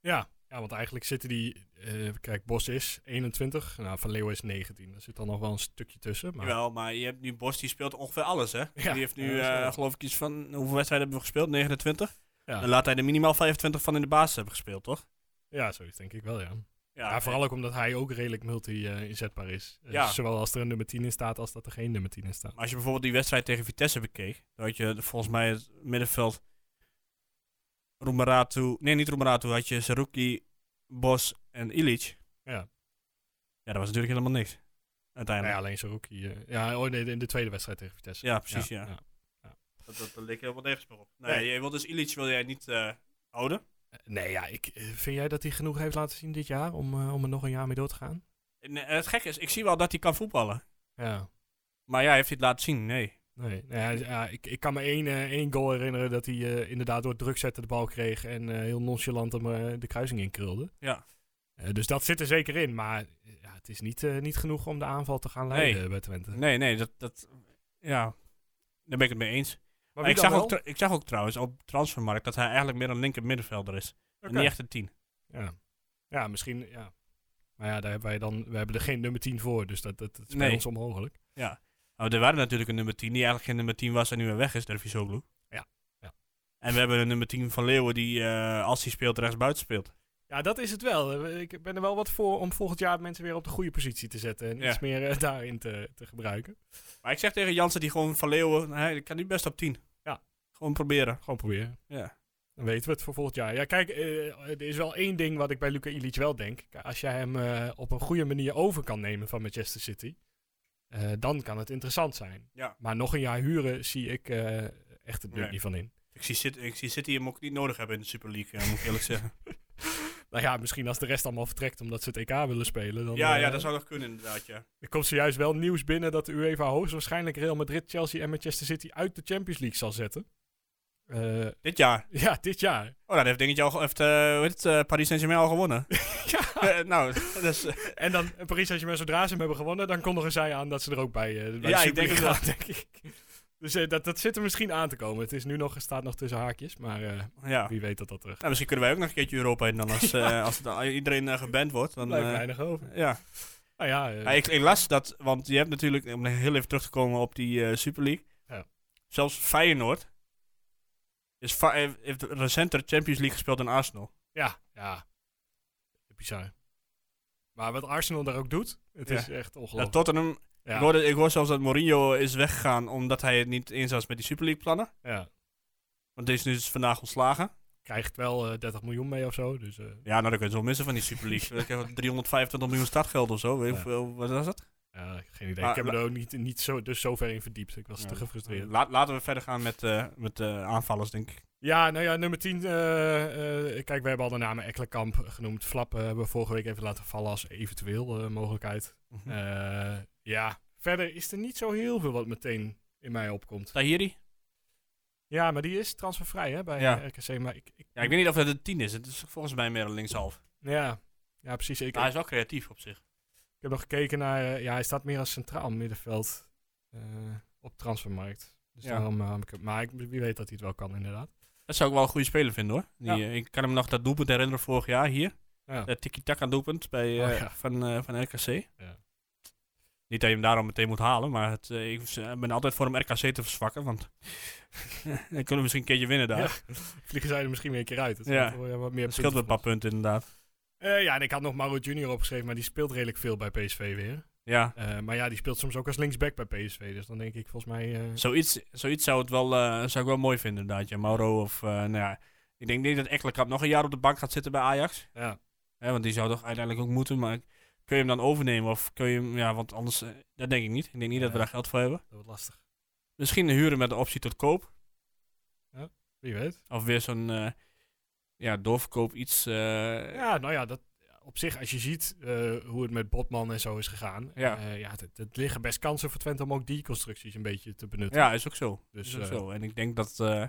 S1: Ja. ja, want eigenlijk zitten die... eh, kijk, Bos is 21. Nou, Van Leeuwen is 19. Er zit dan nog wel een stukje tussen. Maar
S2: Jawel, maar je hebt nu Bos, die speelt ongeveer alles, hè? die heeft nu,
S1: ja, dat is
S2: eh,
S1: wel.
S2: geloof ik, iets van... Hoeveel wedstrijden hebben we gespeeld? 29?
S1: Ja.
S2: Dan laat hij er minimaal 25 van in de basis hebben gespeeld, toch?
S1: ja, zoiets denk ik wel, ja. Ja, vooral ook omdat hij ook redelijk multi-inzetbaar is. Eh,
S2: Ah, Ja.
S1: Zowel als er een nummer 10 in staat, als dat er geen nummer 10 in staat.
S2: Maar als je bijvoorbeeld die wedstrijd tegen Vitesse bekeek... Dan had je volgens mij het middenveld... Roemeratu... Nee, niet Roemeratu. Had je Saruki, Bos en Ilic.
S1: Ja.
S2: Ja, dat was natuurlijk helemaal niks.
S1: Nou ja,
S2: Uiteindelijk.
S1: alleen Zerouki. eh, ja, oh nee, in de tweede wedstrijd tegen Vitesse.
S2: Ja, precies, ja.
S1: ja.
S2: Dat, dat, dat leek helemaal nergens meer op. Nee,
S1: Nee.
S2: Je wil dus Ilic wil jij niet eh, houden.
S1: Eh, Nee, ja, ik, eh, vind jij dat hij genoeg heeft laten zien dit jaar om, eh, om er nog een jaar mee door te gaan?
S2: En, eh, het gekke is, ik zie wel dat hij kan voetballen.
S1: Ja.
S2: Maar ja, heeft hij het laten zien? Nee.
S1: Nee, nou ja, ja, ik, ik kan me één, eh, één goal herinneren dat hij eh, inderdaad door druk zetten de bal kreeg en eh, heel nonchalant hem eh, de kruising inkrulde.
S2: Ja.
S1: Eh, dus dat zit er zeker in, maar eh, ja, het is niet, eh, niet genoeg om de aanval te gaan
S2: Nee.
S1: leiden eh, bij Twente.
S2: Nee, nee, dat, dat ja, daar ben ik het mee eens.
S1: Maar
S2: Maar
S1: wie
S2: ik, zag
S1: dan
S2: ook, tr- ik zag ook trouwens op transfermarkt dat hij eigenlijk meer een linker middenvelder is.
S1: wel?
S2: En niet echt een tien.
S1: Ja. ja, misschien, ja. Maar ja, daar hebben wij dan, we hebben er geen nummer 10 voor, dus dat, dat, dat is bij
S2: Nee.
S1: ons onmogelijk.
S2: Nou, er waren natuurlijk een nummer 10 die eigenlijk geen nummer 10 was en nu weer weg is, Dervisoglu.
S1: Ja, ja.
S2: En we hebben een nummer 10 van Leeuwen die, eh, als hij speelt, rechts buiten speelt.
S1: Ja, dat is het wel. Eh, Ik ben er wel wat voor om volgend jaar mensen weer op de goede positie te zetten en
S2: Ja.
S1: iets meer eh, daarin te, te gebruiken.
S2: Maar ik zeg tegen Jansen, die gewoon van Leeuwen, hij kan nu best op 10.
S1: Ja.
S2: Gewoon proberen.
S1: Gewoon proberen.
S2: Ja.
S1: Dan weten we het voor volgend jaar. Ja, kijk, eh, er is wel één ding wat ik bij Luca Ilic wel denk. K- Als jij hem eh, op een goede manier over kan nemen van Manchester City, eh, dan kan het interessant zijn.
S2: Ja.
S1: Maar nog een jaar huren zie ik eh, echt het nut
S2: Nee.
S1: niet van in.
S2: Ik zie, City, ik zie City hem ook niet nodig hebben in de Super League, eh, moet ik eerlijk zeggen.
S1: Nou ja, misschien als de rest allemaal vertrekt omdat ze het EK willen spelen. Dan,
S2: ja,
S1: eh,
S2: ja, dat zou nog kunnen inderdaad, ja.
S1: Er komt zojuist wel nieuws binnen dat de UEFA hoogstwaarschijnlijk Real Madrid, Chelsea en Manchester City uit de Champions League zal zetten. Eh,
S2: Dit jaar.
S1: ja, dit jaar.
S2: Oh, nou, dat heeft dingetje al, ge- heeft, eh, hoe heet het, eh, Paris Saint-Germain al gewonnen.
S1: ja.
S2: Eh, nou, dat is, eh,
S1: En dan eh, Paris Saint-Germain, zodra ze hem hebben gewonnen, dan kondigen zij aan dat ze er ook bij, eh bij
S2: Ja,
S1: de
S2: ik
S1: Super
S2: denk
S1: League
S2: het
S1: gaan, denk ik. Dus eh, dat, dat zit er misschien aan te komen. Het is nu nog, staat nog tussen haakjes, maar eh,
S2: ja.
S1: wie weet dat dat er
S2: Nou, misschien kunnen wij ook nog een keertje Europa in dan als, eh, als het dan- als iedereen eh, geband wordt. Dan,
S1: blijft
S2: eh,
S1: weinig over.
S2: ja.
S1: Nou ja, eh,
S2: Ja, ik, ik las dat, want je hebt natuurlijk, om heel even terug te komen op die eh, Super League.
S1: Ja.
S2: Zelfs Feyenoord is fa- heeft- heeft recenter Champions League gespeeld dan Arsenal.
S1: ja, ja. Bizar. Maar wat Arsenal daar ook doet, het
S2: Ja.
S1: is echt
S2: Dat
S1: ongelooflijk.
S2: Tottenham
S1: Ja.
S2: Ik, hoorde, ik hoor zelfs dat Mourinho is weggegaan omdat hij het niet eens was met die Super League plannen.
S1: Ja.
S2: Want deze is dus vandaag ontslagen.
S1: Krijgt wel eh, 30 miljoen mee of zo. Dus, eh,
S2: Ja, nou, dat kun je zo missen van die Super League. Ik heb 325 miljoen startgeld of zo. Weet je
S1: Ja.
S2: hoeveel- wat was dat?
S1: ja, geen idee.
S2: Maar
S1: ik heb me
S2: Ah, la-
S1: er ook niet, niet zo, dus zo ver in verdiept. Ik was
S2: Ja.
S1: te gefrustreerd.
S2: Laat, laten we verder gaan met, eh, met eh, aanvallers, denk ik.
S1: Ja, nou ja, nummer 10. eh, eh, kijk, we hebben al de namen Ekkelenkamp genoemd. Flap eh, hebben we vorige week even laten vallen als eventueel eh, mogelijkheid.
S2: Mhm.
S1: Eh, ja, verder is er niet zo heel veel wat meteen in mij opkomt.
S2: Tahiri?
S1: Ja, maar die is transfervrij hè, bij
S2: Ja.
S1: RKC. Maar ik, ik-
S2: Ja, ik weet niet of dat een 10 is. Het is volgens mij meer een linkshalf.
S1: ja, ja, precies. Ik,
S2: Maar hij is wel creatief op zich.
S1: ik heb nog gekeken naar... eh, ja, hij staat meer als centraal middenveld eh, op transfermarkt. Dus
S2: Ja.
S1: daarom... eh, heb ik hem- maar ik, wie weet dat hij het wel kan, inderdaad.
S2: Dat zou ik wel een goede speler vinden hoor. Die,
S1: Ja.
S2: eh, ik kan hem nog dat doelpunt herinneren vorig jaar hier.
S1: Ja.
S2: Dat tiki-taka doelpunt bij, eh,
S1: Oh, ja.
S2: van, eh, van RKC.
S1: Ja.
S2: Niet dat je hem daarom meteen moet halen, maar het, eh, ik eh, ben altijd voor hem RKC te verzwakken. Want dan kunnen we misschien een keertje winnen daar.
S1: Ja, Vliegen zij er misschien weer een keer uit. Dat
S2: Ja.
S1: scheelt wel, eh, wat meer
S2: dat scheelt
S1: punten
S2: een paar punten inderdaad.
S1: Eh, ja, en ik had nog Mauro Junior opgeschreven, maar die speelt redelijk veel bij PSV weer.
S2: Ja,
S1: Eh, maar ja, die speelt soms ook als linksback bij PSV. Dus dan denk ik volgens mij... eh,
S2: zoiets, zoiets zou, het wel, eh, zou ik wel mooi vinden inderdaad. Ja, Mauro of, eh, nou ja. Ik denk niet dat Ekkelkamp nog een jaar op de bank gaat zitten bij Ajax.
S1: ja.
S2: Hè, want die zou toch uiteindelijk ook moeten, maar kun je hem dan overnemen? Of kun je hem, ja, want anders, eh, dat denk ik niet. Ik denk niet dat we
S1: Ja.
S2: daar geld voor hebben.
S1: Dat wordt lastig.
S2: Misschien huren met de optie tot koop.
S1: Wie weet.
S2: Of weer zo'n eh, ja, doorverkoop iets. eh, ja.
S1: Ja, nou ja, dat, op zich, als je ziet eh, hoe het met Botman en zo is gegaan.
S2: Ja.
S1: eh, ja het, het liggen best kansen voor Twente om ook die constructies een beetje te benutten.
S2: is ook zo.
S1: Dus,
S2: is ook
S1: eh,
S2: zo. En ik denk dat eh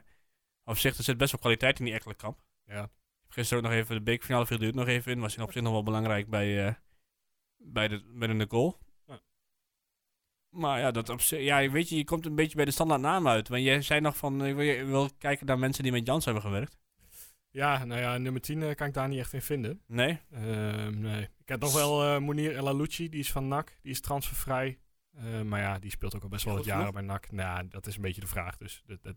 S2: op zich, er zit best wel kwaliteit in die Ekkelenkamp.
S1: Ja.
S2: Ik heb Gisteren ook nog even de bekerfinale viel duurt nog even in. Was in op zich nog wel belangrijk bij, eh, bij de, binnen de goal.
S1: Ja.
S2: Maar ja, dat op zich, ja, weet je, je komt een beetje bij de standaard naam uit. Want jij zei nog van, eh, ik wil, je wil kijken naar mensen die met Jans hebben gewerkt.
S1: Ja, nou ja, nummer 10 eh, kan ik daar niet echt in vinden.
S2: Nee?
S1: Ehm, nee. Ik heb nog wel eh Mounir El Alouchi, die is van NAC. Die is transfervrij. Eh, maar ja, die speelt ook al best wel wat
S2: Goed genoeg?
S1: jaren bij NAC. Nou, dat is een beetje de vraag. Dus dat, dat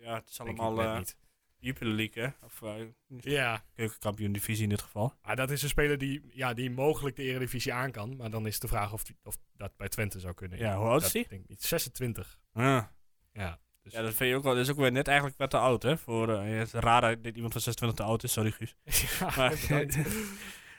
S2: Ja, het is
S1: denk ik
S2: allemaal
S1: net
S2: eh,
S1: niet.
S2: Jupiler League, hè? Of eh,
S1: Ja,
S2: keukenkampioen divisie in dit geval.
S1: maar dat is een speler die, ja, die mogelijk de Eredivisie aan kan. Maar dan is de vraag of, die- of dat bij Twente zou kunnen.
S2: Ja, hoe oud is
S1: Dat
S2: die?
S1: Denk ik niet. 26.
S2: Ja.
S1: Ja, dus-
S2: ja, dat vind je ook wel. Dat is ook weer net eigenlijk wat te oud, hè? Voor, eh, het is raar dat- dat iemand van 26 te oud is, sorry Guus.
S1: ja,
S2: Maar,
S1: bedankt.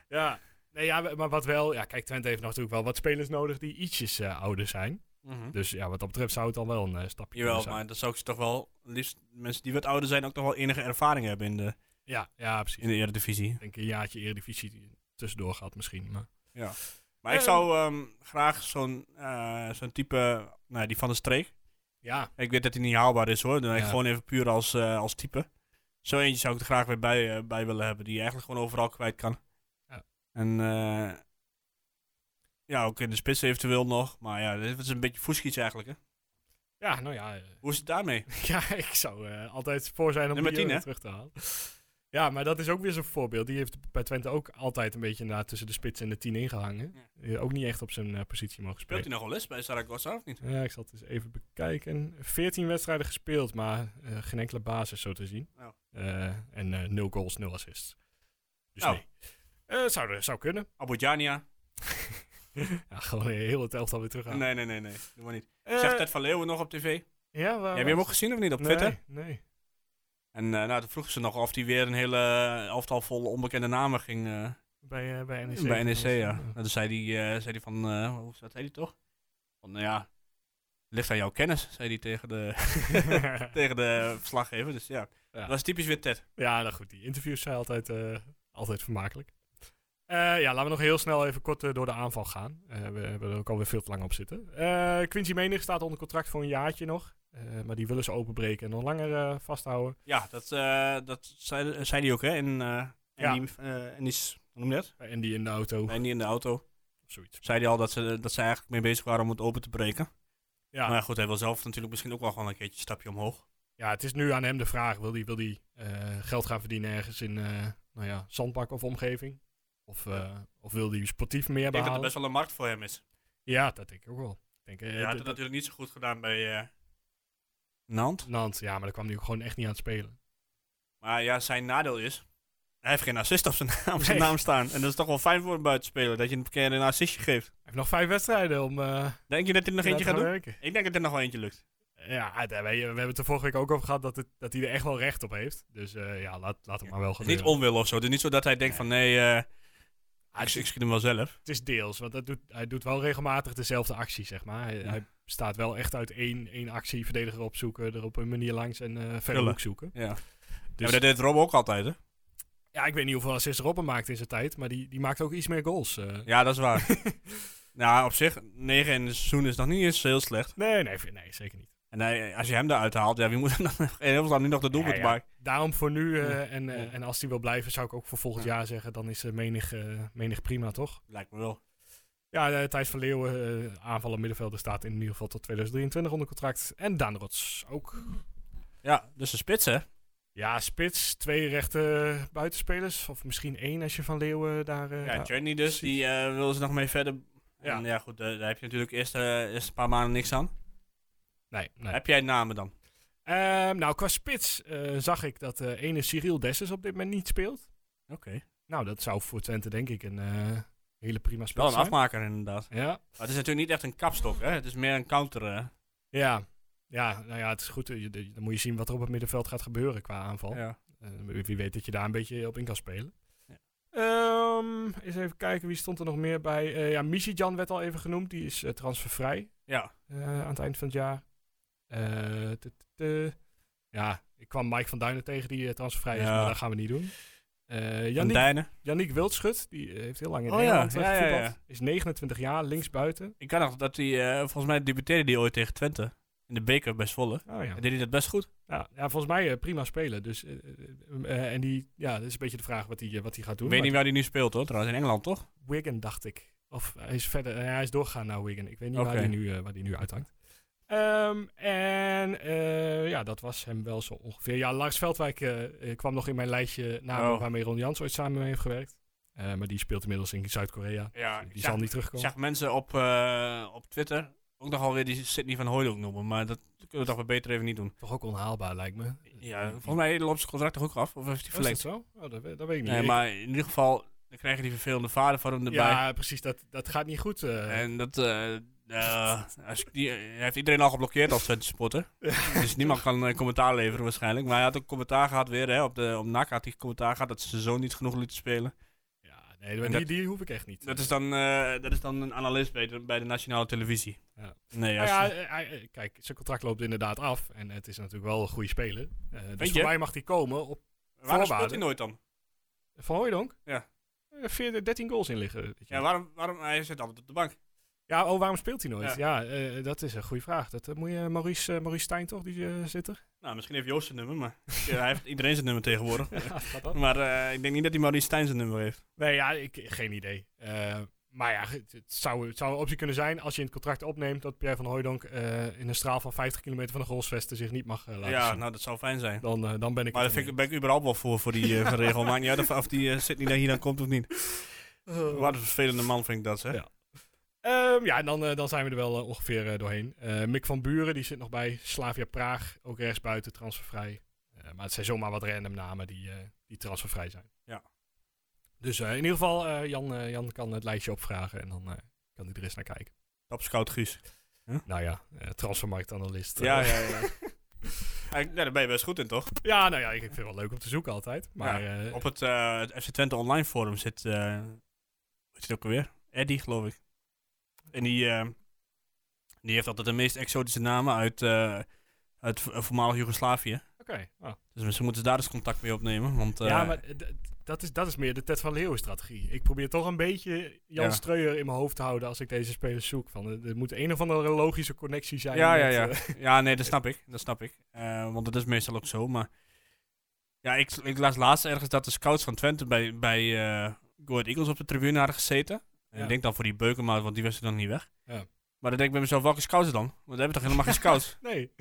S1: ja. Nee, ja, maar wat wel... Ja, kijk, Twente heeft natuurlijk wel wat spelers nodig die ietsjes eh, ouder zijn.
S2: Mhm.
S1: Dus ja, wat dat betreft zou het dan wel een eh, stapje
S2: Jawel,
S1: kunnen zijn.
S2: maar dan zou ik ze toch wel liefst mensen die wat ouder zijn ook nog wel enige ervaring hebben in de,
S1: Ja, ja, precies.
S2: in de Eredivisie.
S1: Ik denk een jaartje Eredivisie tussendoor gehad misschien. Maar...
S2: Maar
S1: Eh.
S2: ik zou ehm, graag zo'n eh, zo'n type, nou, die van de streek.
S1: Ja,
S2: Ik weet dat hij niet haalbaar is hoor, dan ik
S1: Ja.
S2: gewoon even puur als, eh, als type. Zo eentje zou ik er graag weer bij, eh, bij willen hebben, die je eigenlijk gewoon overal kwijt kan.
S1: Ja.
S2: En eh, ja, ook in de spits eventueel nog. Maar ja, dit is een beetje voeskiets eigenlijk hè.
S1: ja nou ja... eh,
S2: Hoe is het daarmee?
S1: Ja, ik zou eh, altijd voor zijn om
S2: Nummer
S1: die
S2: 10,
S1: jongen
S2: hè?
S1: terug te halen. Ja, maar dat is ook weer zo'n voorbeeld. Die heeft bij Twente ook altijd een beetje na tussen de spits en de 10 ingehangen. Eh, Ook niet echt op zijn eh, positie mogen
S2: Speelt
S1: spelen.
S2: hij nog wel eens bij Zaragoza of niet?
S1: Ja, ik zal het eens even bekijken. 14 wedstrijden gespeeld, maar eh, geen enkele basis zo te zien.
S2: Nou.
S1: Eh, en eh 0 goals, 0 assists. Dus
S2: Nou.
S1: nee. Eh, zou, er- zou kunnen.
S2: Abujania?
S1: Ja, gewoon heel het elftal weer terughalen.
S2: Nee, nee, nee, nee. Doe maar niet.
S1: Eh,
S2: Zegt Ted van Leeuwen nog op tv?
S1: ja, waar,
S2: Heb je hem ook gezien of niet op
S1: nee,
S2: Twitter?
S1: Nee.
S2: En eh, nou, toen vroegen ze nog of hij weer een hele eh, elftal vol onbekende namen ging eh,
S1: Bij, eh, bij NEC.
S2: bij NEC. Ja. Nou, toen zei hij eh, zei die van, eh, hoe wat zei hij toch? Van, nou ja, ligt aan jouw kennis, zei hij tegen de, tegen de verslaggever. Dus ja,
S1: Ja.
S2: dat was typisch weer Ted.
S1: Ja, nou goed, die interviews zijn altijd, eh, altijd vermakelijk. Eh, ja, laten we nog heel snel even kort eh, door de aanval gaan. Eh, we hebben er ook alweer veel te lang op zitten. Eh, Quincy Menig staat onder contract voor een jaartje nog. Eh, maar die willen ze openbreken en nog langer eh, vasthouden.
S2: Ja, dat, eh, dat zei, zei hij ook, hè? In, eh en
S1: Ja.
S2: die, eh, en die, s- hoe noem je dat?
S1: En die in de auto
S2: En die in de auto.
S1: of zoiets.
S2: Zei hij al dat ze, dat ze eigenlijk mee bezig waren om het open te breken.
S1: Ja,
S2: Maar ja, goed, hij wil zelf natuurlijk misschien ook wel gewoon een keertje een stapje omhoog.
S1: ja, het is nu aan hem de vraag. Wil hij wil die, eh, geld gaan verdienen ergens in eh nou ja, zandbak of omgeving? Of, eh, of wil hij sportief meer
S2: Ik denk dat er
S1: behalen?
S2: best wel een markt voor hem is.
S1: Ja, dat denk ik ook wel. Ik Denk, eh,
S2: Hij had
S1: dat-
S2: het natuurlijk niet zo goed gedaan bij eh Nant.
S1: Nant, ja, maar daar kwam hij ook gewoon echt niet aan het spelen.
S2: Maar ja, zijn nadeel is... Hij heeft geen assist op zijn naam, op zijn
S1: Nee.
S2: naam staan. En dat is toch wel fijn voor een buitenspeler. Dat je een keer een assistje geeft.
S1: heeft nog vijf wedstrijden om. eh,
S2: Denk je dat hij er nog eentje
S1: te
S2: gaat doen?
S1: werken.
S2: Ik denk dat er nog wel eentje lukt.
S1: Ja, daar- wij- we hebben het er vorige week ook over gehad dat, het, dat hij er echt wel recht op heeft. Dus eh, ja, laat, laat het maar wel gebeuren.
S2: Niet onwil of zo. Het is niet zo dat hij denkt van nee, eh, ik, ik schiet hem wel zelf.
S1: Het is deels, want dat doet, hij doet wel regelmatig dezelfde actie, zeg maar. Hij,
S2: Ja.
S1: hij staat wel echt uit één, één actie, verdediger opzoeken, er op een manier langs en eh verder
S2: Vullen.
S1: hoek zoeken.
S2: Ja. Ja,
S1: Dus-
S2: maar dat deed Rob ook altijd, hè?
S1: Ja, ik weet niet hoeveel assists Robben maakt in zijn tijd, maar die, die maakt ook iets meer goals. eh.
S2: Ja, dat is waar. nou, op zich, 9 in het seizoen is nog niet eens heel slecht.
S1: Nee, nee, v- nee, zeker niet.
S2: En hij, als je hem eruit haalt, ja, wie moet er dan nog- in Hilversum nu nog de doelpunt
S1: Ja, ja.
S2: maken?
S1: Daarom voor nu, eh, en, eh,
S2: Ja.
S1: en als hij wil blijven, zou ik ook voor volgend jaar zeggen, dan is eh, menig, eh, menig prima, toch?
S2: Lijkt me wel.
S1: Ja, eh, Thijs van Leeuwen, aanvallen aanvaller middenvelder, staat in ieder geval tot 2023 onder contract. En Daan Rots ook.
S2: Ja, dus de spits, hè?
S1: Ja, spits, twee rechte buitenspelers. Of misschien één als je van Leeuwen daar... eh,
S2: Ja, Journey dus, die eh wil ze nog mee verder.
S1: Ja.
S2: Ja, ja goed, eh, daar heb je natuurlijk eerst, eh, eerst een paar maanden niks aan.
S1: Nee, nee.
S2: Heb jij namen dan?
S1: Ehm, nou, qua spits eh, zag ik dat eh ene Cyril Dessus op dit moment niet speelt.
S2: Oké.
S1: Nou, dat zou voor Twente denk ik een eh, hele prima spits
S2: Wel een
S1: zijn.
S2: afmaker, inderdaad.
S1: Ja,
S2: Maar het is natuurlijk niet echt een kapstok, hè? Het is meer een counter. eh.
S1: ja. Ja, nou ja, het is goed. eh, je- Dan moet je zien wat er op het middenveld gaat gebeuren qua aanval.
S2: Ja.
S1: Eh, wie wie weet dat je daar een beetje op in kan spelen.
S2: Ja.
S1: Ehm, eens even kijken, wie stond er nog meer bij? Eh, ja, Michijan werd al even genoemd. Die is eh, transfervrij.
S2: ja.
S1: eh, aan het eind van het jaar. Eh, t- t- t- ja, ik kwam Mike van Duinen tegen die eh, transfervrij is,
S2: Ja.
S1: maar dat gaan we niet doen. Eh
S2: Van
S1: Yannick,
S2: Dijnen.
S1: Yannick Wildschut, die eh, heeft heel lang in
S2: Oh ja,
S1: Nederland eh,
S2: ja, ja,
S1: gevoetbald. Is 29 jaar, linksbuiten.
S2: Ik kan nog dat hij, eh, volgens mij debuteerde die ooit tegen Twente. In de beker bij Zwolle.
S1: Oh ja.
S2: En deed hij dat best goed.
S1: Ja, ja, volgens mij eh, prima spelen. Dus, eh, eh, eh, en die, ja, dat is een beetje de vraag wat hij eh, wat hij gaat doen.
S2: Ik weet
S1: Maar
S2: niet waar hij nu speelt hoor, trouwens. In Engeland toch?
S1: Wigan, dacht ik. Of hij is verder, eh, hij is doorgegaan naar Wigan. Ik weet niet
S2: Oké.
S1: waar hij nu, eh, waar die nu uithangt. Ehm, en eh, ja, dat was hem wel zo ongeveer. Ja, Lars Veldwijk eh, eh, kwam nog in mijn lijstje namen
S2: Oh.
S1: waarmee Ron Jans ooit samen mee heeft gewerkt. Eh, maar die speelt inmiddels in Zuid-Korea.
S2: Ja,
S1: Die
S2: ik
S1: zal
S2: zag,
S1: niet
S2: ik
S1: terugkomen.
S2: zag mensen op, eh, op Twitter ook nogal weer die Sydney van Hooydonk noemen. Maar dat kunnen we toch weer beter even niet doen.
S1: Toch ook onhaalbaar, lijkt me.
S2: Ja, volgens mij loopt zijn contract toch ook af? Of heeft hij
S1: Oh, is dat
S2: verlengd?
S1: zo? Oh, dat, weet- dat weet ik niet.
S2: Nee,
S1: Ik-
S2: maar in ieder geval, dan krijg je die vervelende vader van hem erbij.
S1: ja, precies. Dat, dat gaat niet goed. eh.
S2: En dat... eh, eh, als ik die, hij heeft iedereen al geblokkeerd als Twente supporter. dus niemand kan eh, commentaar leveren waarschijnlijk. Maar hij had ook commentaar gehad weer. Hè, op, de, op NAC had hij commentaar gehad dat ze zijn zoon niet genoeg lieten spelen.
S1: ja, nee, maar
S2: dat-
S1: die, die hoef ik echt niet.
S2: Dat is dan, eh, dat is dan een analist bij de, bij de nationale televisie.
S1: Ja.
S2: Nee,
S1: Nou
S2: als,
S1: ja, eh, hij- eh, kijk, zijn contract loopt inderdaad af. En het is natuurlijk wel een goede speler. Eh, dus
S2: je?
S1: voor mij mag hij komen op
S2: waarom speelt hij
S1: voorwaarden.
S2: nooit dan?
S1: Van Hooijdonk?
S2: Ja.
S1: Eh, 14, 13 goals in liggen. weet je.
S2: Ja, waarom, waarom, hij zit altijd op de bank.
S1: Ja, oh, waarom speelt hij nooit? Ja, eh, dat is een goede vraag. Dat eh, moet je Maurice, eh, Maurice Stijn toch, die eh, zit er?
S2: Nou, misschien heeft Joost zijn nummer, maar ja, hij heeft iedereen zijn nummer tegenwoordig.
S1: Gaat dat?
S2: Maar eh, ik denk niet dat hij Maurice Stijn zijn nummer heeft.
S1: Nee, ja, ik, geen idee. Eh, maar ja, het, het zou, het zou een optie kunnen zijn als je in het contract opneemt dat Pierre van Hooijdonk eh, in een straal van 50 kilometer van de goalsvesten zich niet mag eh, laten
S2: ja,
S1: zien.
S2: nou, dat zou fijn zijn.
S1: Dan, eh, dan ben ik
S2: Maar
S1: het
S2: daar vind
S1: ermee.
S2: ik, ben ik überhaupt wel voor, voor die eh, regel. Maakt niet uit of, of die eh, Sydney daar hier dan komt of niet. Wat een vervelende man vind ik dat, zeg.
S1: Ja. Ehm, ja, en dan, eh, dan zijn we er wel eh, ongeveer eh, doorheen. Eh, Mick van Buren, die zit nog bij Slavia Praag. Ook rechtsbuiten, transfervrij. Eh, maar het zijn zomaar wat random namen die, eh, die transfervrij zijn.
S2: Ja.
S1: Dus eh, in ieder geval, eh, Jan, eh, Jan kan het lijstje opvragen en dan eh, kan hij er eens naar kijken.
S2: Topscout Guus.
S1: Nou ja, eh, transfermarktanalist. eh.
S2: Ja, ja, ja. ja, daar ben je best goed in, toch?
S1: ja, nou ja, ik, ik vind het wel leuk om te zoeken altijd. Maar
S2: Ja,
S1: eh,
S2: Op het, eh, het FC Twente online forum zit, eh hoe zit ook alweer? Eddie, geloof ik. En die, eh, die heeft altijd de meest exotische namen uit, eh, uit vo- eh, voormalig Joegoslavië.
S1: oké. ah.
S2: Dus misschien moeten ze daar eens contact mee opnemen. Want, eh,
S1: ja, maar eh, d- dat is, dat is meer de Ted van Leeuwen strategie. Ik probeer toch een beetje Jan
S2: Ja.
S1: Streuer in mijn hoofd te houden als ik deze spelers zoek. Van, eh, er moet een of andere logische connectie zijn.
S2: ja, ja,
S1: met,
S2: ja.
S1: eh,
S2: ja, nee, dat snap ik. Dat snap ik. Eh, want dat is meestal ook zo. Maar ja, ik, ik las laatst ergens dat de scouts van Twente bij, bij eh, Go Ahead Eagles op de tribune hadden gezeten. En
S1: Ja.
S2: ik denk dan voor die Beukema, want die was er dan niet weg.
S1: Ja.
S2: Maar dan denk ik bij mezelf, welke scouts dan? Want we hebben toch helemaal geen scouts?
S1: nee.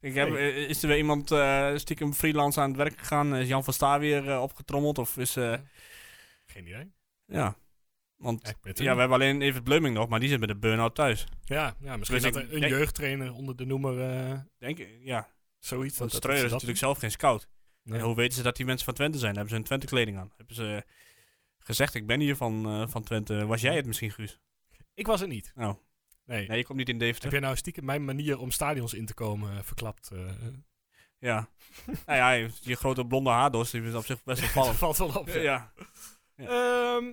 S2: Ik heb, eh, Is er weer iemand eh, stiekem freelance aan het werk gegaan? Is Jan van Sta weer eh, opgetrommeld? Of is... eh,
S1: Geen idee. Eh,
S2: ja. Want
S1: Ja, ik weet het
S2: ja,
S1: niet.
S2: we hebben alleen Evert Bleuming nog, maar die zit met de burn-out thuis.
S1: Ja, ja, misschien
S2: Dus
S1: dat
S2: ik
S1: er een
S2: denk-
S1: jeugdtrainer onder de noemer eh,
S2: Denk ik, ja.
S1: zoiets.
S2: Want
S1: dat-
S2: Streuer
S1: dat ze
S2: is
S1: dat
S2: natuurlijk zelf geen scout.
S1: doen. Nee.
S2: En hoe weten ze dat die mensen van Twente zijn? Hebben ze een eh, Twente-kleding aan? Hebben ze gezegd, ik ben hier van, eh, van Twente. Was jij het misschien, Guus?
S1: Ik was er niet.
S2: Oh,
S1: Nee.
S2: nee, je komt niet in Deventer.
S1: Heb jij nou stiekem mijn manier om stadions in te komen eh, verklapt? eh?
S2: Ja. nou ja, je, je grote blonde haardos, die is op zich best
S1: dat
S2: opvallend.
S1: valt wel op. ja.
S2: ja.
S1: Ehm,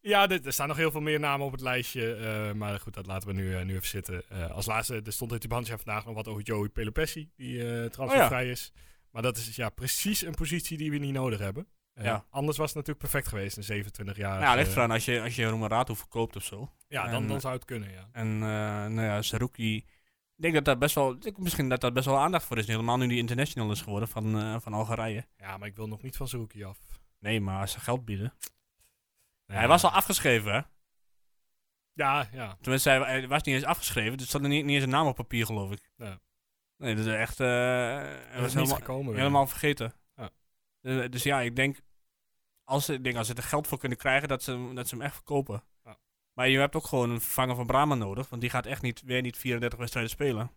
S1: ja, dit- er staan nog heel veel meer namen op het lijstje. eh, maar goed, dat laten we nu, eh, nu even zitten. Eh, als laatste, er stond in de bandje vandaag nog wat over Joey Pelopessi, die eh,
S2: Oh
S1: transfervrij is. Maar dat is ja, precies een positie die we niet nodig hebben. Eh,
S2: Ja.
S1: Anders was het natuurlijk perfect geweest, een 27 jaar.
S2: Nou, ligt eraan als je, als je Roemerato verkoopt of zo.
S1: ja, dan,
S2: en-
S1: dan zou het kunnen, ja.
S2: En eh nou ja, Saruki. Ik denk dat daar best wel, ik denk misschien dat daar best wel aandacht voor is. Helemaal nu die international is geworden van, eh, van Algerije.
S1: Ja, maar ik wil nog niet van Zerouki af.
S2: Nee, maar als ze geld bieden.
S1: Nee.
S2: Hij was al afgeschreven, hè?
S1: Ja, ja.
S2: Tenminste, hij, hij was niet eens afgeschreven. Dus stond er niet, niet eens een naam op papier, geloof ik.
S1: Ja.
S2: Nee, dat is echt... eh
S1: Er
S2: hij
S1: is
S2: was
S1: niet
S2: helemaal,
S1: gekomen. weer.
S2: helemaal vergeten.
S1: Ja.
S2: Dus, dus ja, ik denk... Als, ze- ik denk als ze er geld voor kunnen krijgen, dat ze, hem- dat ze hem echt verkopen.
S1: Ja.
S2: Maar je hebt ook gewoon een vervanger van Brahma nodig. Want die gaat echt niet, weer niet 34 wedstrijden spelen.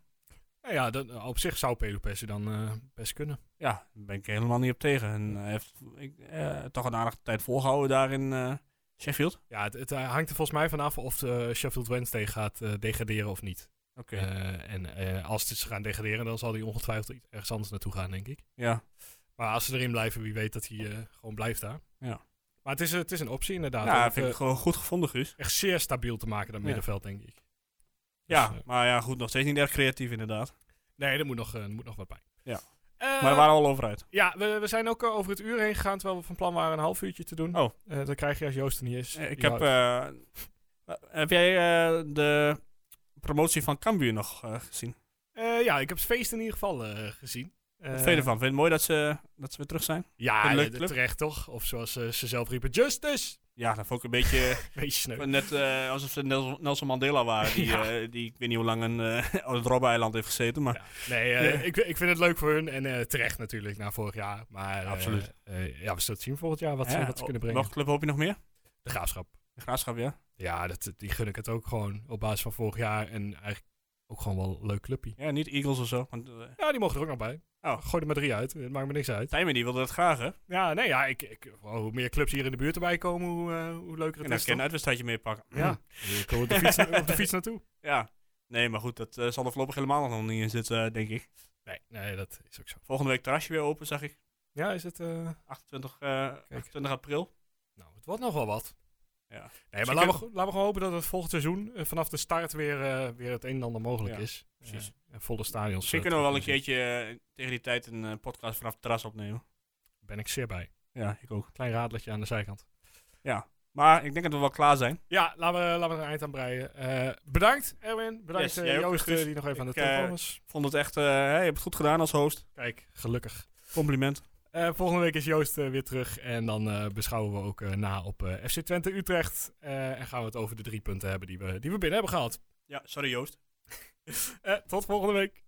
S1: Nou ja, dat, op zich zou Pelopessi dan eh, best kunnen.
S2: Ja, daar ben ik helemaal niet op tegen. En hij heeft ik, eh, toch een aardige tijd volgehouden daar in eh, Sheffield. Oké.
S1: Ja, het, het eh, hangt er volgens mij vanaf of eh, Sheffield Wednesday gaat eh, degraderen of niet. Eh, en eh, als ze gaan degraderen, dan zal hij ongetwijfeld iets- ergens anders naartoe gaan, denk ik.
S2: ja.
S1: Maar als ze erin blijven, wie weet dat hij eh, gewoon blijft daar.
S2: Ja.
S1: Maar het is, eh, het is een optie inderdaad. om
S2: ja,
S1: het,
S2: vind ik
S1: eh,
S2: gewoon goed gevonden, Guus.
S1: echt zeer stabiel te maken, dat
S2: Ja.
S1: middenveld, denk ik.
S2: Ja,
S1: eh,
S2: maar ja, goed, nog steeds niet erg creatief inderdaad.
S1: Nee, er moet nog, eh, er moet nog wat bij.
S2: Ja.
S1: Eh,
S2: maar we waren al over uit.
S1: Ja, we, we zijn ook eh, over het uur heen gegaan, terwijl we van plan waren een half uurtje te doen.
S2: Oh.
S1: Eh, dat krijg je als Joost er niet is.
S2: Eh, Ik
S1: Die
S2: heb,
S1: houdt-
S2: eh, heb jij eh, de promotie van Cambuur nog eh, gezien?
S1: Eh, ja, ik heb het feest in ieder geval eh, gezien.
S2: Wat
S1: Eh,
S2: vind je ervan? Vind je het mooi dat ze, dat ze weer terug zijn?
S1: Ja,
S2: Een leuke
S1: ja,
S2: club.
S1: terecht toch? Of zoals eh, ze zelf riepen, justice!
S2: Ja, dat vond ik een beetje
S1: Beetje sneu.
S2: net eh, alsof ze Nelson Nelson Mandela waren. Die, eh, die ik weet niet hoe lang een, eh, op het Robbe-eiland heeft gezeten. Maar
S1: Nee, eh,
S2: Ja.
S1: ik, ik vind het leuk voor hun en eh, terecht natuurlijk na vorig jaar. Maar eh,
S2: Absoluut.
S1: eh, ja, we zullen het zien volgend jaar wat, ze,
S2: Ja,
S1: wat ze
S2: op-
S1: kunnen brengen.
S2: Welke club hoop je nog meer?
S1: De graafschap.
S2: De Graafschap, ja.
S1: Ja, dat, die gun ik het ook gewoon op basis van vorig jaar. En eigenlijk ook gewoon wel een leuk clubje.
S2: Ja, niet Eagles of zo. Want eh,
S1: Ja, die mogen er ook nog bij.
S2: Oh.
S1: Gooi er maar drie uit. Het maakt me niks uit.
S2: Tijmen die wilde dat graag, hè?
S1: Ja, nee, ja, ik, ik, oh, hoe meer clubs hier in de buurt erbij komen, hoe, eh, hoe leuker
S2: En
S1: het is.
S2: dan kan je een
S1: toch?
S2: uitwedstrijdje meepakken.
S1: Ja, ik kom op de, fiets, na- op de fiets naartoe.
S2: ja. Nee, maar goed, dat eh, zal er voorlopig helemaal nog niet in zitten, eh, denk ik.
S1: Nee, nee, dat is ook zo.
S2: Volgende week terrasje weer open, zag ik.
S1: Ja, is het... eh,
S2: 28, eh, 28 april.
S1: Nou, het wordt nog wel wat.
S2: Ja.
S1: Nee, maar
S2: je
S1: laten we,
S2: kunt-
S1: go- laten we gewoon hopen dat het volgend seizoen eh, vanaf de start weer, eh, weer het een en ander mogelijk
S2: Ja,
S1: is.
S2: precies.
S1: Eh, en volle stadions.
S2: Misschien
S1: eh,
S2: kunnen we wel een
S1: terug
S2: keertje eh, tegen die tijd een eh, podcast vanaf het terras opnemen.
S1: zien. Ben ik zeer bij.
S2: Ja, ik ook.
S1: Klein raadletje aan de zijkant.
S2: Maar ik denk dat we wel klaar zijn.
S1: Ja, laten we, laten we er een eind aan breien. Eh, bedankt, Erwin. Bedankt,
S2: Yes,
S1: eh,
S2: jij ook,
S1: Joost, eh,
S2: Guus.
S1: die nog even aan de
S2: Ik, eh,
S1: telefoon was.
S2: Vond het echt, eh, hè, je hebt het goed gedaan als host.
S1: Kijk, gelukkig.
S2: Compliment.
S1: Eh, volgende week is Joost eh, weer terug. En dan eh, beschouwen we ook eh, na op eh, FC Twente Utrecht. Eh, en gaan we het over de drie punten hebben die we, die we binnen hebben gehaald.
S2: Ja, sorry Joost.
S1: Eh, tot volgende week.